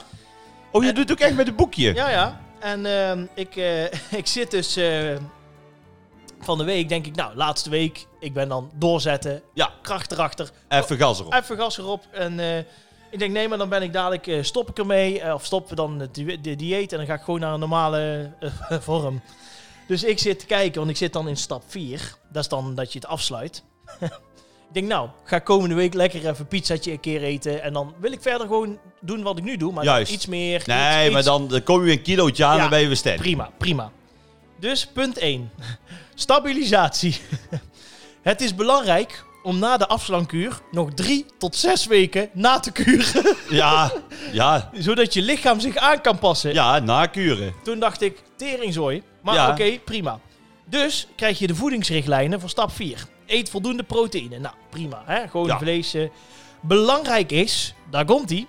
Oh, je En- doet ook echt met een boekje. Ja, ja. En ehm, ik, eh, ik zit dus eh, van de week, denk ik, nou, laatste week. Ik ben dan doorzetten. Ja. Kracht erachter. Even gas erop. Even gas erop. En eh, ik denk, nee, maar dan ben ik dadelijk, eh, stop ik ermee. eh, of stoppen we dan het die- de dieet en dan ga ik gewoon naar een normale eh, vorm. Dus ik zit te kijken, want ik zit dan in stap 4. Dat is dan dat je het afsluit. ik denk, nou, ga komende week lekker even pizzaatje een keer eten. En dan wil ik verder gewoon doen wat ik nu doe, maar dan Juist. iets meer. iets- Nee, iets maar dan, dan kom je een kilootje aan Ja. en ben je weer sterk. Prima, prima. Dus punt 1. Stabilisatie. Het is belangrijk om na de afslankuur nog drie tot zes weken na te kuren. Ja, ja, Zodat je lichaam zich aan kan passen. ja, nakuren. Toen dacht ik, teringzooi. Maar Ja. oké, prima. Dus krijg je de voedingsrichtlijnen voor stap 4. Eet voldoende proteïne. Nou, prima. Hè? Gewoon Ja. vlees. eh. Belangrijk is, daar komt ie,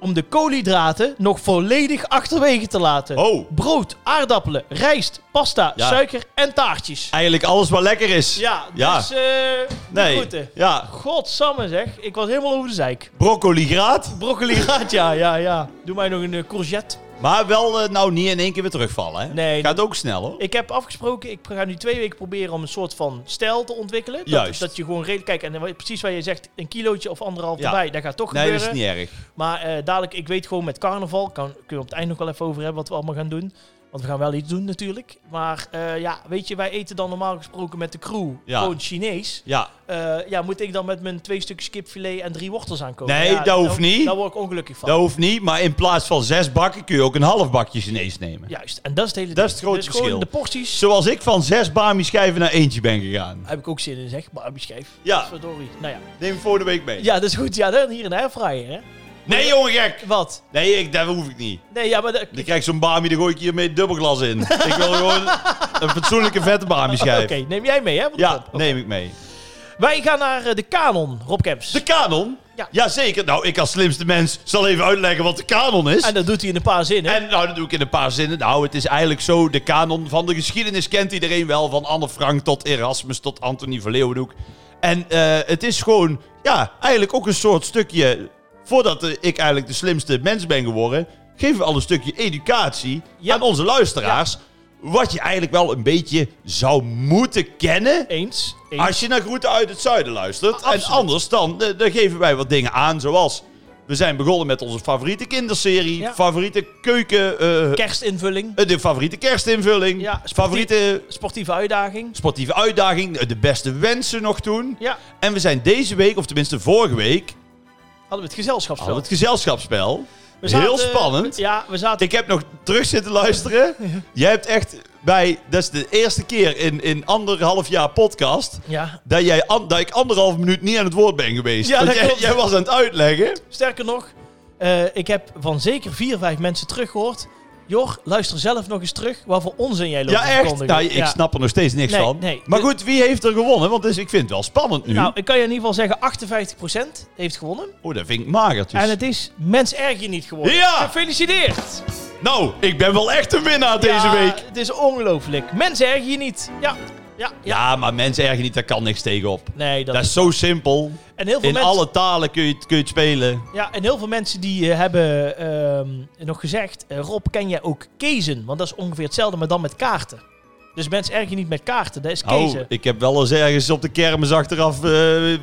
om de koolhydraten nog volledig achterwege te laten. Oh, Brood, aardappelen, rijst, pasta, Ja. suiker en taartjes. eigenlijk alles wat lekker is. Ja, Ja. dus eh nee. nee. Ja, Godsamme zeg, ik was helemaal over de zeik. broccoli graat. Broccoli gaat, ja, ja, ja. Doe mij nog een eh, courgette. Maar wel eh, nou niet in één keer weer terugvallen. Hè? Nee. Gaat ook snel hoor. Ik heb afgesproken, ik ga nu twee weken proberen om een soort van stijl te ontwikkelen. Dat, Juist. dat je gewoon redelijk, kijk, en wat- precies waar je zegt, een kilootje of anderhalf Ja. erbij, dat gaat toch Nee, dus dat gebeuren. is niet erg. Maar eh, dadelijk, ik weet gewoon met carnaval, kan, kunnen we op het eind nog wel even over hebben wat we allemaal gaan doen. Want we gaan wel iets doen natuurlijk. Maar eh, ja, weet je, wij eten dan normaal gesproken met de crew Ja. gewoon Chinees. Ja, Eh, ja, moet ik dan met mijn twee stukjes kipfilet en drie wortels aankomen? Nee, ja, dat hoeft daar- niet. Daar word ik ongelukkig van. dat hoeft niet. Maar in plaats van zes bakken kun je ook een half bakje Chinees nemen. Juist, en dat is het hele Dat is het ding. grote dus gewoon verschil. de porties, Zoals ik van zes Bami schijven naar eentje ben gegaan. daar heb ik ook zin in zeg, maar op die schijf. Ja, Verdorie. Nou ja. neem voor de week mee. ja, dat is goed. Ja, dan hier een airfryer, hè? Nee, jongen, gek. Wat? Nee, ik, dat hoef ik niet. Nee, ja, maar dat- Dan krijg ik zo'n Bami, dan gooi ik hiermee dubbelglas in. ik wil gewoon een fatsoenlijke vette Bami schijf. Oké, neem jij mee, hè? Want Ja, dat- neem ik mee. Wij gaan naar eh, de Canon, Rob Kemps. De kanon? Ja. Jazeker. Nou, ik als slimste mens zal even uitleggen wat de kanon is. En En, dat doet hij in een paar zinnen. nou, dat doe ik in een paar zinnen. Nou, het is eigenlijk zo, de kanon van de geschiedenis kent iedereen wel. Van Anne Frank tot Erasmus tot Anthony van Leeuwenhoek. En eh, het is gewoon, ja, eigenlijk ook een soort stukje... Voordat eh, ik eigenlijk de slimste mens ben geworden... geven we al een stukje educatie Ja. aan onze luisteraars. Wat je eigenlijk wel een beetje zou moeten kennen... Eens. eens. Als je naar groeten uit het zuiden luistert. Ah, en absoluut. anders dan, eh, dan geven wij wat dingen aan. Zoals, we zijn begonnen met onze favoriete kinderserie. Ja. Favoriete keuken. eh, Kerstinvulling, eh, de favoriete kerstinvulling. Ja, sportief. favoriete sportieve uitdaging. sportieve uitdaging. eh, De beste wensen nog toen. Ja, En we zijn deze week, of tenminste vorige week, hadden we het gezelschapsveld. al het gezelschapsspel. We zaten- Heel spannend. Ja, we zaten... Ik heb nog terug zitten luisteren. Jij hebt echt bij... Dat is de eerste keer in, in anderhalf jaar podcast... Ja, Dat, jij, an- dat ik anderhalf minuut niet aan het woord ben geweest. Ja, Want dat jij, klopt. jij was aan het uitleggen. sterker nog, eh, ik heb van zeker vier, vijf mensen teruggehoord. Jor, luister zelf nog eens terug waarvoor onzin jij loopt Ja, te echt. verkondigen. Nou, ik Ja. snap er nog steeds niks Nee, van. nee. Maar Dus- goed, wie heeft er gewonnen? Want dus, ik vind het wel spannend nu. Nou, ik kan je in ieder geval zeggen, 58% heeft gewonnen. oh, dat vind ik magertjes. En het is mens erg je niet geworden. Ja! Gefeliciteerd! Nou, ik ben wel echt een winnaar deze Ja, week. Het is ongelooflijk. Mens erg je niet. Ja, ja, ja. Ja, maar mensen ergen niet, daar kan niks tegenop. Nee, dat, Dat is zo simpel. En heel veel In mensen... alle talen kun je, het- kun je het spelen. Ja, en heel veel mensen die eh, hebben ehm, nog gezegd... eh, Rob, ken jij ook kezen? Want dat is ongeveer hetzelfde, maar dan met kaarten. Dus mens erg je niet met kaarten, dat is Oh, kezen. ik heb wel eens ergens op de kermis achteraf eh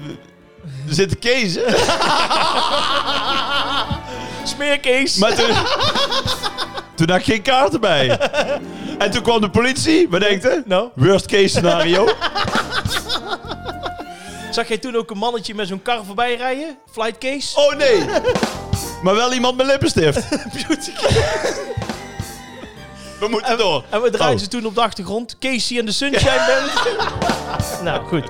zitten kezen. Smeerkees! Maar toen, toen had ik geen kaarten bij. En toen kwam de politie. Wat denkt u? Nou, Worst case scenario. zag jij toen ook een mannetje met zo'n kar voorbij rijden? Flightcase? Oh nee. Maar wel iemand met lippenstift. We moeten door. En we draaien Oh. ze toen op de achtergrond. Casey en de Sunshine Band. nou, goed.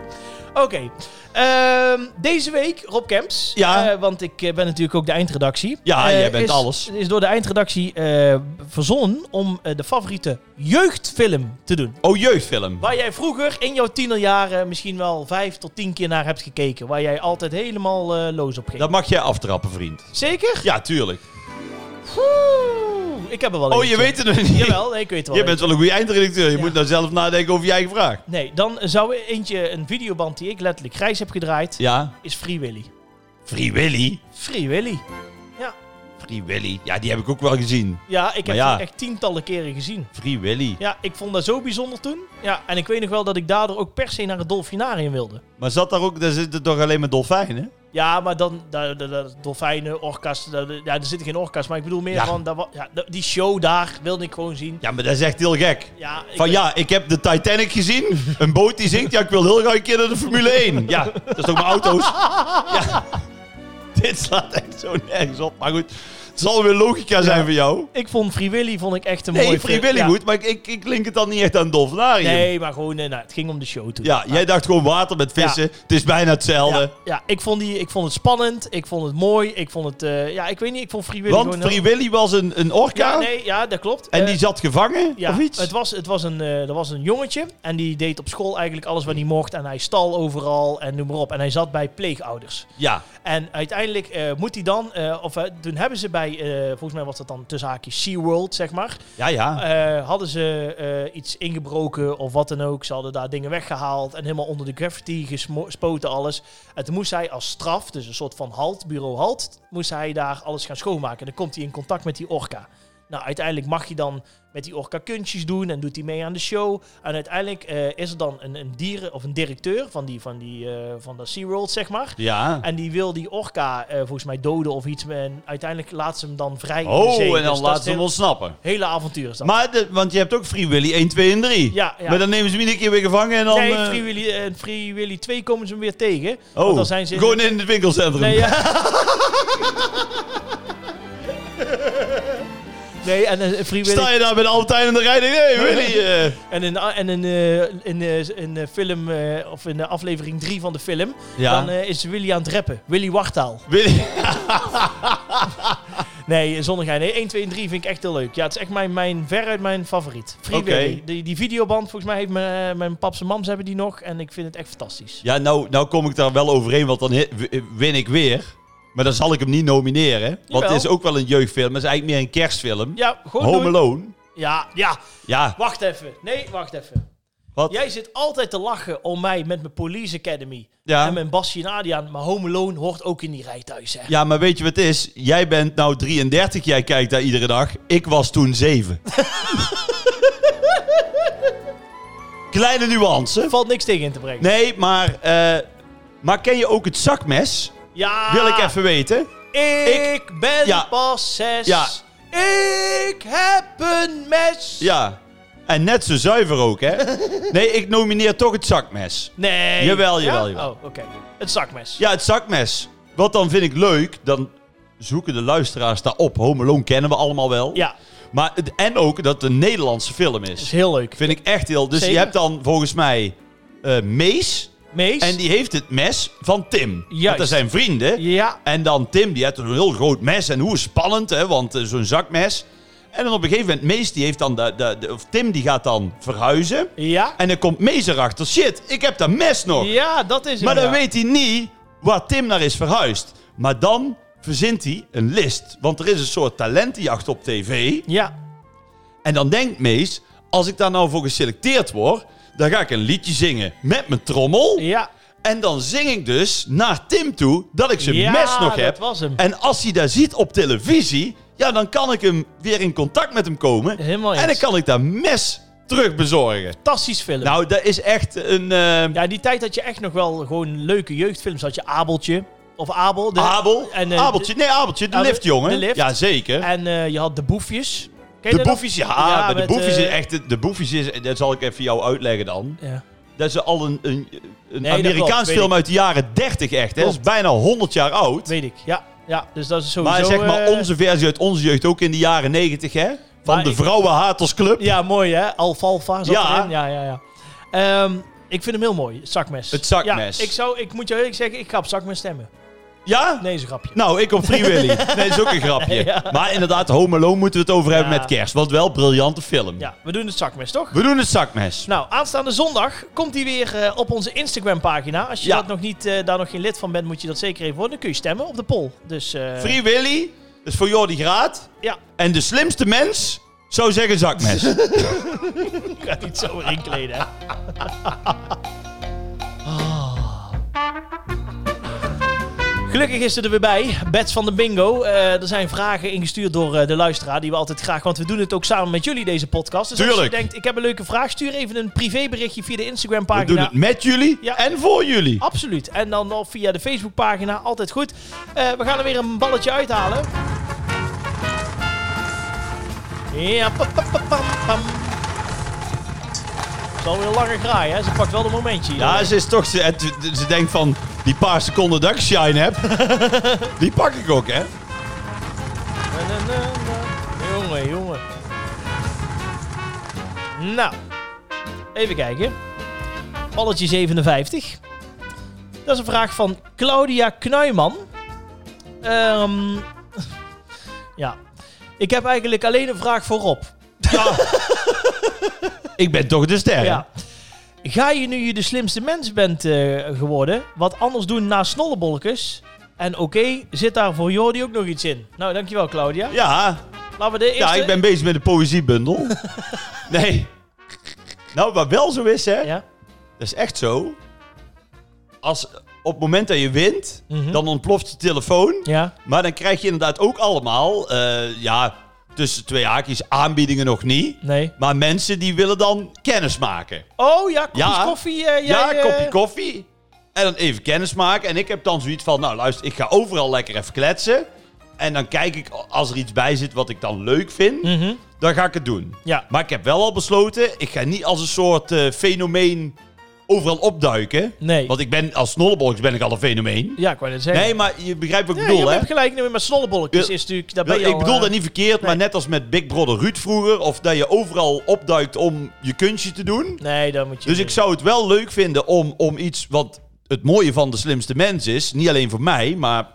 Oké. Ehm, deze week Rob Kemps. Ja. Eh, want ik eh, ben natuurlijk ook de eindredactie. Ja, Eh, jij bent is, alles. Is door de eindredactie eh, verzonnen om eh, de favoriete jeugdfilm te doen. Oh, jeugdfilm. Waar jij vroeger in jouw tienerjaren misschien wel vijf tot tien keer naar hebt gekeken. Waar jij altijd helemaal eh, loos op ging. Dat mag jij aftrappen, vriend. Zeker? Ja, tuurlijk. Oeh, ik heb er wel Oh, je eentje. weet het nog niet. Jawel, nee, ik weet het wel. Je bent wel een goede eindredacteur. Je Ja. moet nou zelf nadenken over je eigen vraag. Nee, dan zou eentje, een videoband die ik letterlijk grijs heb gedraaid, Ja. is Free Willy. Free Willy. Free Willy. Free Willy. Ja, die heb ik ook wel gezien. Ja, ik heb Maar ja. die echt tientallen keren gezien. Free Willy. Ja, ik vond dat zo bijzonder toen. Ja, en ik weet nog wel dat ik daardoor ook per se naar het dolfinarium wilde. Maar zat daar ook, daar zitten toch alleen maar dolfijnen? Ja, maar dan da, da- da- dolfijnen, orka's. da- da- ja, er zitten geen orka's, maar ik bedoel meer Ja. van dat wa- ja, da- die show daar wilde ik gewoon zien. Ja, maar dat is echt heel gek. Ja, ik Van weet- ja, ik heb de Titanic gezien. Een boot die zinkt. Ja, ik wil heel graag een keer naar de Formule 1. Ja, dat is toch mijn auto's. Ja. Dit slaat echt zo nergens op. Maar goed, het zal weer logica zijn voor jou. ik vond Free Willy vond ik echt een mooie Nee, Free film. Willy Ja. goed, maar ik, ik, ik link het dan niet echt aan dolfinarium. Nee, maar gewoon, eh, nou, het ging om de show toen. Ja, jij dacht gewoon water met vissen. Het is bijna hetzelfde. Ja, ja, ik, vond die, ik vond het spannend. Ik vond het mooi. Ik vond het... eh, ja, ik weet niet. Ik vond Free Willy Want gewoon... Free Willy was een, een orka ja, nee, ja, dat klopt. en Eh, die zat gevangen ja, of iets? Het was, het was een, eh, er was een jongetje en die deed op school eigenlijk alles wat hij mocht. En hij stal overal en noem maar op. En hij zat bij pleegouders. Ja, En uiteindelijk eh, moet hij dan... eh, of eh, toen hebben ze bij, eh, volgens mij was dat dan tussen haakjes SeaWorld, zeg maar. ja, ja. Eh, hadden ze eh, iets ingebroken of wat dan ook. Ze hadden daar dingen weggehaald en helemaal onder de graffiti gespoten alles. En toen moest hij als straf, dus een soort van halt, bureau halt, moest hij daar alles gaan schoonmaken. En dan komt hij in contact met die orka. Nou, uiteindelijk mag hij dan met die orka kunstjes doen en doet hij mee aan de show. En uiteindelijk eh, is er dan een, een dieren of een directeur van die, van die eh, van de SeaWorld, zeg maar. ja. En die wil die orka eh, volgens mij doden of iets. En uiteindelijk laat ze hem dan vrij in de Oh, zee. en Dus dan dat is laat ze hem heel- ontsnappen. Hele avontuur is dat. Maar, de- want je hebt ook Free Willy 1, 2 en 3. Ja, ja. Maar dan nemen ze hem iedere keer weer gevangen en dan... nee, eh, Free Willy, eh, Free Willy 2 komen ze hem weer tegen. oh, want dan zijn ze in- gewoon in het winkelcentrum. Nee, ja. nee en eh, Free Willy... Sta je daar bij de Albertijn in de rij en denk, hey, Willy... eh, En in, a- en in, eh, in, eh, in eh, film, eh, of in eh, aflevering 3 van de film, ja, dan eh, is Willy aan het rappen. Willy Wartaal. Willy... Nee, eh, zonder gein. Nee, 1, 2 en 3 vind ik echt heel leuk. Ja, het is echt mijn, mijn, veruit mijn favoriet. Free Oké. Willy. Die, die videoband, volgens mij heeft mijn, eh, mijn paps en mams hebben die nog. En ik vind het echt fantastisch. Ja, nou, nou kom ik daar wel overheen, want dan he- w- eh, win ik weer. Maar dan zal ik hem niet nomineren. Want het Jawel. is ook wel een jeugdfilm. Het is eigenlijk meer een kerstfilm. Ja, gewoon Home doen. Alone. Ja, ja. Ja, Wacht even. Nee, wacht even. wat? Jij zit altijd te lachen om mij met mijn Police Academy. En Ja. mijn Basje en Adriaan. Maar Home Alone hoort ook in die rij thuis, hè? ja, maar weet je wat het is? Jij bent nou 33, jij kijkt daar iedere dag. Ik was toen 7. Kleine nuance. Valt niks tegen in te brengen. Nee, maar, eh, maar ken je ook het zakmes? Ja. Wil ik even weten. Ik, ben Ja. pas zes. Ja. Ik heb een mes. Ja. En net zo zuiver ook, hè? Nee, ik nomineer toch het zakmes. Nee. Jawel, jawel, Ja? jawel. Oh, oké. Het zakmes. Ja, het zakmes. Wat dan vind ik leuk, dan zoeken de luisteraars daarop. Home Alone kennen we allemaal wel. Ja, Maar, het- en ook dat het een Nederlandse film dat is is. heel leuk. Vind ik echt heel... Dus je Zeker. hebt dan volgens mij eh, Mees. Mees? En die heeft het mes van Tim. Want Juist. dat zijn vrienden. Ja, En dan Tim, die heeft een heel groot mes. En hoe spannend, hè? Want eh, zo'n zakmes. En dan op een gegeven moment, Mees die heeft dan... De, de, de- of Tim die gaat dan verhuizen. ja. En dan komt Mees erachter. Shit, ik heb dat mes nog. Ja, dat is het. Maar dan ja. weet hij niet waar Tim naar is verhuisd. Maar dan verzint hij een list. Want er is een soort talentenjacht op tv. Ja, En dan denkt Mees, als ik daar nou voor geselecteerd word... dan ga ik een liedje zingen met mijn trommel. ja. En dan zing ik dus naar Tim toe dat ik zijn ja, mes nog heb. dat was hem. En als hij dat ziet op televisie... ja, dan kan ik hem weer in contact met hem komen. Helemaal en dan eens. kan ik dat mes terugbezorgen. Fantastisch film. Nou, dat is echt een... eh, Ja, die tijd dat je echt nog wel gewoon leuke jeugdfilms had. Je Abeltje. Of Abel. de- Abel. En, eh, Abeltje. Nee, Abeltje. De Abel- lift, jongen. de lift. Ja, zeker. En eh, je had De Boefjes. Ken je de dat? boefjes, ja. maar de met, boefjes eh, is echt... De boefjes is... Dat zal ik even jou uitleggen dan. Ja. Dat is al een, een, een Nee, dat Amerikaans klopt, weet film ik. uit de jaren 30 echt. Hè? Dat is Klopt. bijna 100 jaar oud. Weet ik, ja. Ja, dus dat is sowieso... Maar zeg maar eh, onze versie uit onze jeugd ook in de jaren 90, hè? Van Maar de ik- Vrouwenhatersclub. Ja, mooi hè. Alfalfa zat Ja. ja. erin. Ja, ja, ja. Ehm, ik vind hem heel mooi, het zakmes. Het zakmes. Ja, ik, zou, ik moet je eerlijk zeggen, ik ga op zakmes stemmen. Ja? Nee, is een grapje. Nou, ik op Free Willy. Nee, dat is ook een grapje. Ja. Maar inderdaad, Home Alone moeten we het over hebben Ja. met kerst. Want wel een briljante film. Ja, we doen het zakmes, toch? We doen het zakmes. Nou, aanstaande zondag komt die weer eh, op onze Instagram-pagina. Als je Ja. dat nog niet, eh, daar nog geen lid van bent, moet je dat zeker even worden. Dan kun je stemmen op de poll. Dus eh, Free Willy is voor Jordi Graat. ja, En de slimste mens zou zeggen zakmes. ik ga het niet zo erin kleden. hè. Ah. Gelukkig is ze er weer bij. Bets van de Bingo. Eh, er zijn vragen ingestuurd door eh, de luisteraar die we altijd graag... Want we doen het ook samen met jullie, deze podcast. Dus als Tuurlijk. je denkt, ik heb een leuke vraag, stuur even een privéberichtje via de We doen Instagram-pagina. het met jullie Ja. Oh. en voor jullie. Absoluut. En dan nog via de Facebookpagina. Altijd goed. Eh, we gaan er weer een balletje uithalen. Ja, pa, pa, pa, pam, pam. Zal weer langer graaien, hè? Ze pakt wel een momentje hier. Ja, ze is toch... Ze, het- ze denkt van, die paar seconden dat ik shine heb, die pak ik ook, hè? Na, na, na, na. Jongen, jongen. Nou, even kijken. Balletje 57. Dat is een vraag van Claudia Knuiman. Ehm, ja. Ik heb eigenlijk alleen een vraag voor Rob. Ja. ik ben toch de ster. Ja. Ga je nu je de slimste mens bent eh, geworden, wat anders doen na snollebolkes? En oké, zit daar voor Jordi ook nog iets in? Nou, dankjewel Claudia. Ja, Laten we de eerste... ja, ik ben bezig met een poëziebundel. nee. Nou, wat wel zo is, hè. Ja? Dat is echt zo. Als op het moment dat je wint, Mhm. dan ontploft je telefoon. Ja? Maar dan krijg je inderdaad ook allemaal, eh, ja, tussen twee haakjes aanbiedingen nog niet. Nee? Maar mensen die willen dan kennis maken. Oh ja, kopjes Ja. koffie. eh, Ja, jij, eh, kopje koffie. En dan even kennis maken. En ik heb dan zoiets van, nou luister, ik ga overal lekker even kletsen. En dan kijk ik, als er iets bij zit wat ik dan leuk vind, mhm. dan ga ik het doen. Ja, Maar ik heb wel al besloten, ik ga niet als een soort eh, fenomeen overal opduiken. nee. Want ik ben, als snollebolks ben ik al een fenomeen. Ja, ik wou net zeggen. Nee, maar je begrijpt wat ik Ja, bedoel, je hè? hebt gelijk nee, met snollebolletjes Ja. is natuurlijk... Daar Wel, ben je ik al, bedoel eh, dat niet verkeerd, maar nee. net als met Big Brother Ruud vroeger. Of dat je overal opduikt om je kunstje te doen. Nee, dat moet je Dus niet ik zou het wel leuk vinden om, om iets wat het mooie van de slimste mens is. Niet alleen voor mij, maar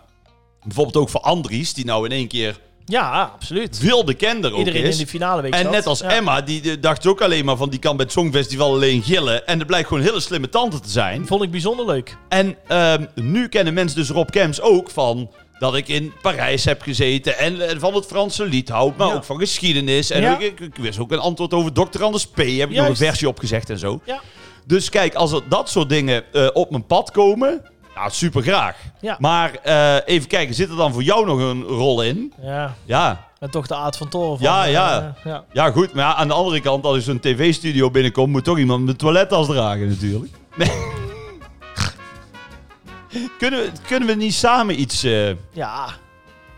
bijvoorbeeld ook voor Andries. Die nou in één keer doen. Ja, absoluut. veel bekender ook Iedereen is. in de finale weet en dat. net als Ja. Emma, die eh, dacht ook alleen maar van die kan bij het Songfestival alleen gillen. En dat blijkt gewoon een hele slimme tante te zijn. Vond ik bijzonder leuk. En ehm, nu kennen mensen dus Rob Kems ook van dat ik in Parijs heb gezeten en eh, van het Franse lied hou, maar Ja. ook van geschiedenis. En Ja. ik, ik, ik wist ook een antwoord over Dr. Anders P. Heb ik nog een Juist. versie opgezegd en zo. Ja. Dus kijk, als er dat soort dingen eh, op mijn pad komen, ja, super graag. Ja. Maar eh, even kijken, zit er dan voor jou nog een rol in? Ja, Ja. en toch de aard van toren van... Ja, ja. eh, ja. Ja, goed. Maar ja, aan de andere kant, als ik zo'n tv-studio binnenkom, moet toch iemand mijn toilettas dragen natuurlijk. Nee. kunnen, we, kunnen we niet samen iets... eh, Ja.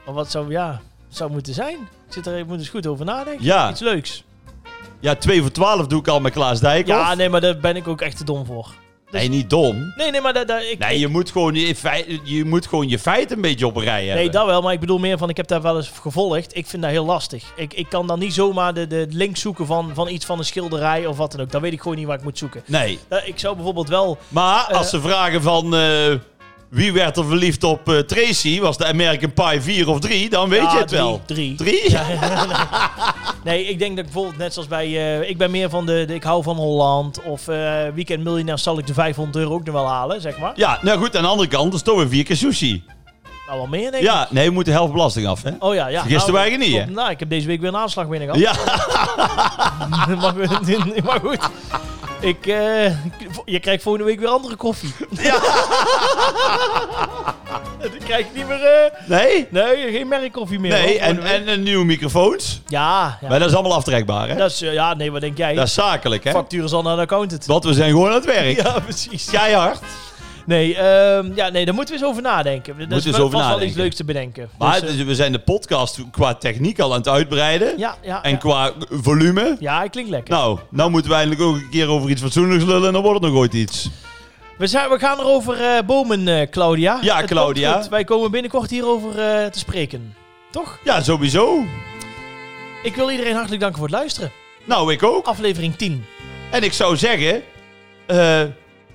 Maar wat zou... Ja, zou moeten zijn. Ik zit er even moet eens goed over nadenken. Ja. Iets leuks. ja, 2 voor 12 doe ik al met Klaas Dijkhoff. Ja, nee, maar daar ben ik ook echt te dom voor. Nee, niet dom. Nee, nee, maar daar, daar, ik, Nee, je moet gewoon je, fei- je, moet gewoon je feiten een beetje op een rij hebben. Nee, dat wel, maar ik bedoel meer van, ik heb daar wel eens gevolgd. Ik vind dat heel lastig. Ik, ik kan dan niet zomaar de, de link zoeken van, van iets van een schilderij of wat dan ook. Dan weet ik gewoon niet waar ik moet zoeken. Nee. Eh, ik zou bijvoorbeeld wel... Maar als Eh. ze vragen van eh, wie werd er verliefd op eh, Tracy, was de American Pie 4 of 3, dan weet Ja, je het drie, wel. Drie. 3? Nee, ik denk dat ik bijvoorbeeld net zoals bij... eh, ik ben meer van de, de ik hou van Holland of eh, Weekend Miljonair zal ik de 500 euro ook nog wel halen, zeg maar. Ja, nou goed, aan de andere kant, dat is toch weer vier keer sushi. Nou, wel meer denk ik. Ja, nee, we moeten de helft belasting af, hè? Oh ja, ja. Vergisten wij je niet, hè? klopt. Nou, ik heb deze week weer een aanslag binnen gehad. Ja, maar, goed- maar goed, ik, eh, je krijgt volgende week weer andere koffie. Ja. Dan krijg ik niet meer... eh, nee? nee, geen merkkoffie meer. Nee, hoor, en, volgende week. en een nieuwe microfoons. Ja, ja. Maar dat is allemaal aftrekbaar, hè? Dat is, eh, ja, nee, wat denk jij? Dat is zakelijk, hè? Factuur is al naar de accountant. Want we zijn gewoon aan het werk. Ja, precies. Dus, Keihard. Nee, ehm, ja, nee, daar moeten we eens over nadenken. Dat is eens wel- over vast wel iets nadenken. leuks te bedenken. Maar Dus, eh, het is- we zijn de podcast qua techniek al aan het uitbreiden. ja, ja, En ja. qua volume. ja, hij klinkt lekker. Nou, nou moeten we eindelijk ook een keer over iets fatsoenlijks lullen en dan wordt het nog ooit iets. We, zijn, we gaan erover eh, bomen, eh, Claudia. Ja, Het komt Claudia. goed. Wij komen binnenkort hierover eh, te spreken. Toch? Ja, sowieso. Ik wil iedereen hartelijk danken voor het luisteren. Nou, ik ook. Aflevering 10. En ik zou zeggen, eh,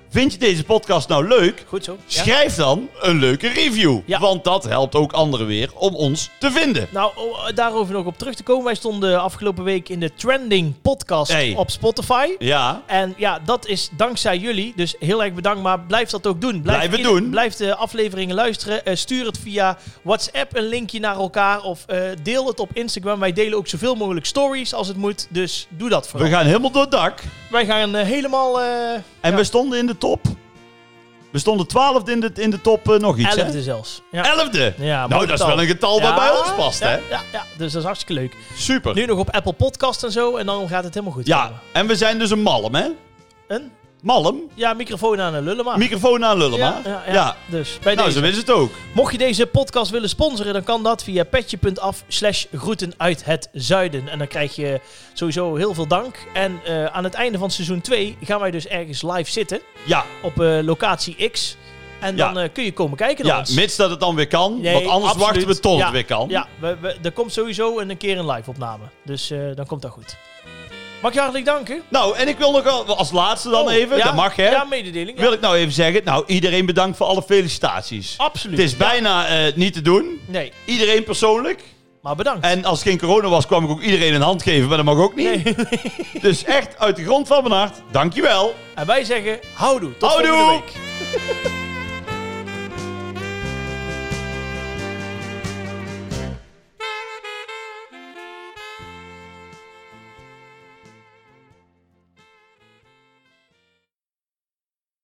vind je deze podcast nou leuk? Goed zo. Ja? Schrijf dan een leuke review. Ja. Want dat helpt ook anderen weer om ons te vinden. Nou, o- daarover nog op terug te komen. Wij stonden afgelopen week in de trending podcast Hey. op Spotify. Ja, En ja, dat is dankzij jullie. Dus heel erg bedankt. Maar blijf dat ook doen. Blijf het ieder- doen. Blijf de afleveringen luisteren. Eh, stuur het via WhatsApp een linkje naar elkaar. Of eh, deel het op Instagram. Wij delen ook zoveel mogelijk stories als het moet. Dus doe dat we vooral. gaan helemaal door het dak. Wij gaan eh, helemaal... eh En Ja. we stonden in de top. We stonden twaalfde in de, in de top eh, nog iets, elfde zelfs. Ja. hè? Elfde? Ja, mooi nou, dat is getal. wel een getal dat Ja, bij ons past, ja, hè? Ja, ja, dus dat is hartstikke leuk. Super. Nu nog op Apple Podcast en zo. En dan gaat het helemaal goed. ja, komen. en we zijn dus een malm, hè? Een? Malm. Ja, microfoon aan een lullen maar. Microfoon aan lullen, ja, maar. ja, ja. ja. Dus bij Nou, deze. zo is het ook. Mocht je deze podcast willen sponsoren, dan kan dat via petje.af slash groeten uit het zuiden. En dan krijg je sowieso heel veel dank. En eh, aan het einde van seizoen 2 gaan wij dus ergens live zitten Ja, op eh, locatie X. En Ja. dan eh, kun je komen kijken naar ja ons. mits dat het dan weer kan. Nee, want anders absoluut. wachten we tot Ja, het weer kan. Ja, we, we- er komt sowieso een, een keer een live opname. Dus eh, dan komt dat goed. Mag ik je hartelijk danken? Nou, en ik wil nog al- als laatste dan Oh, even, ja, dat mag hè, Ja, mededeling. ja. wil ik nou even zeggen. Nou, iedereen bedankt voor alle felicitaties. Absoluut. Het is bijna eh, niet te doen. Nee, Iedereen persoonlijk. maar bedankt. En als het geen corona was, kwam ik ook iedereen een hand geven, maar dat mag ook niet. Nee. Dus echt uit de grond van mijn hart, dankjewel. En wij zeggen houdoe. Tot Houdoe! volgende week.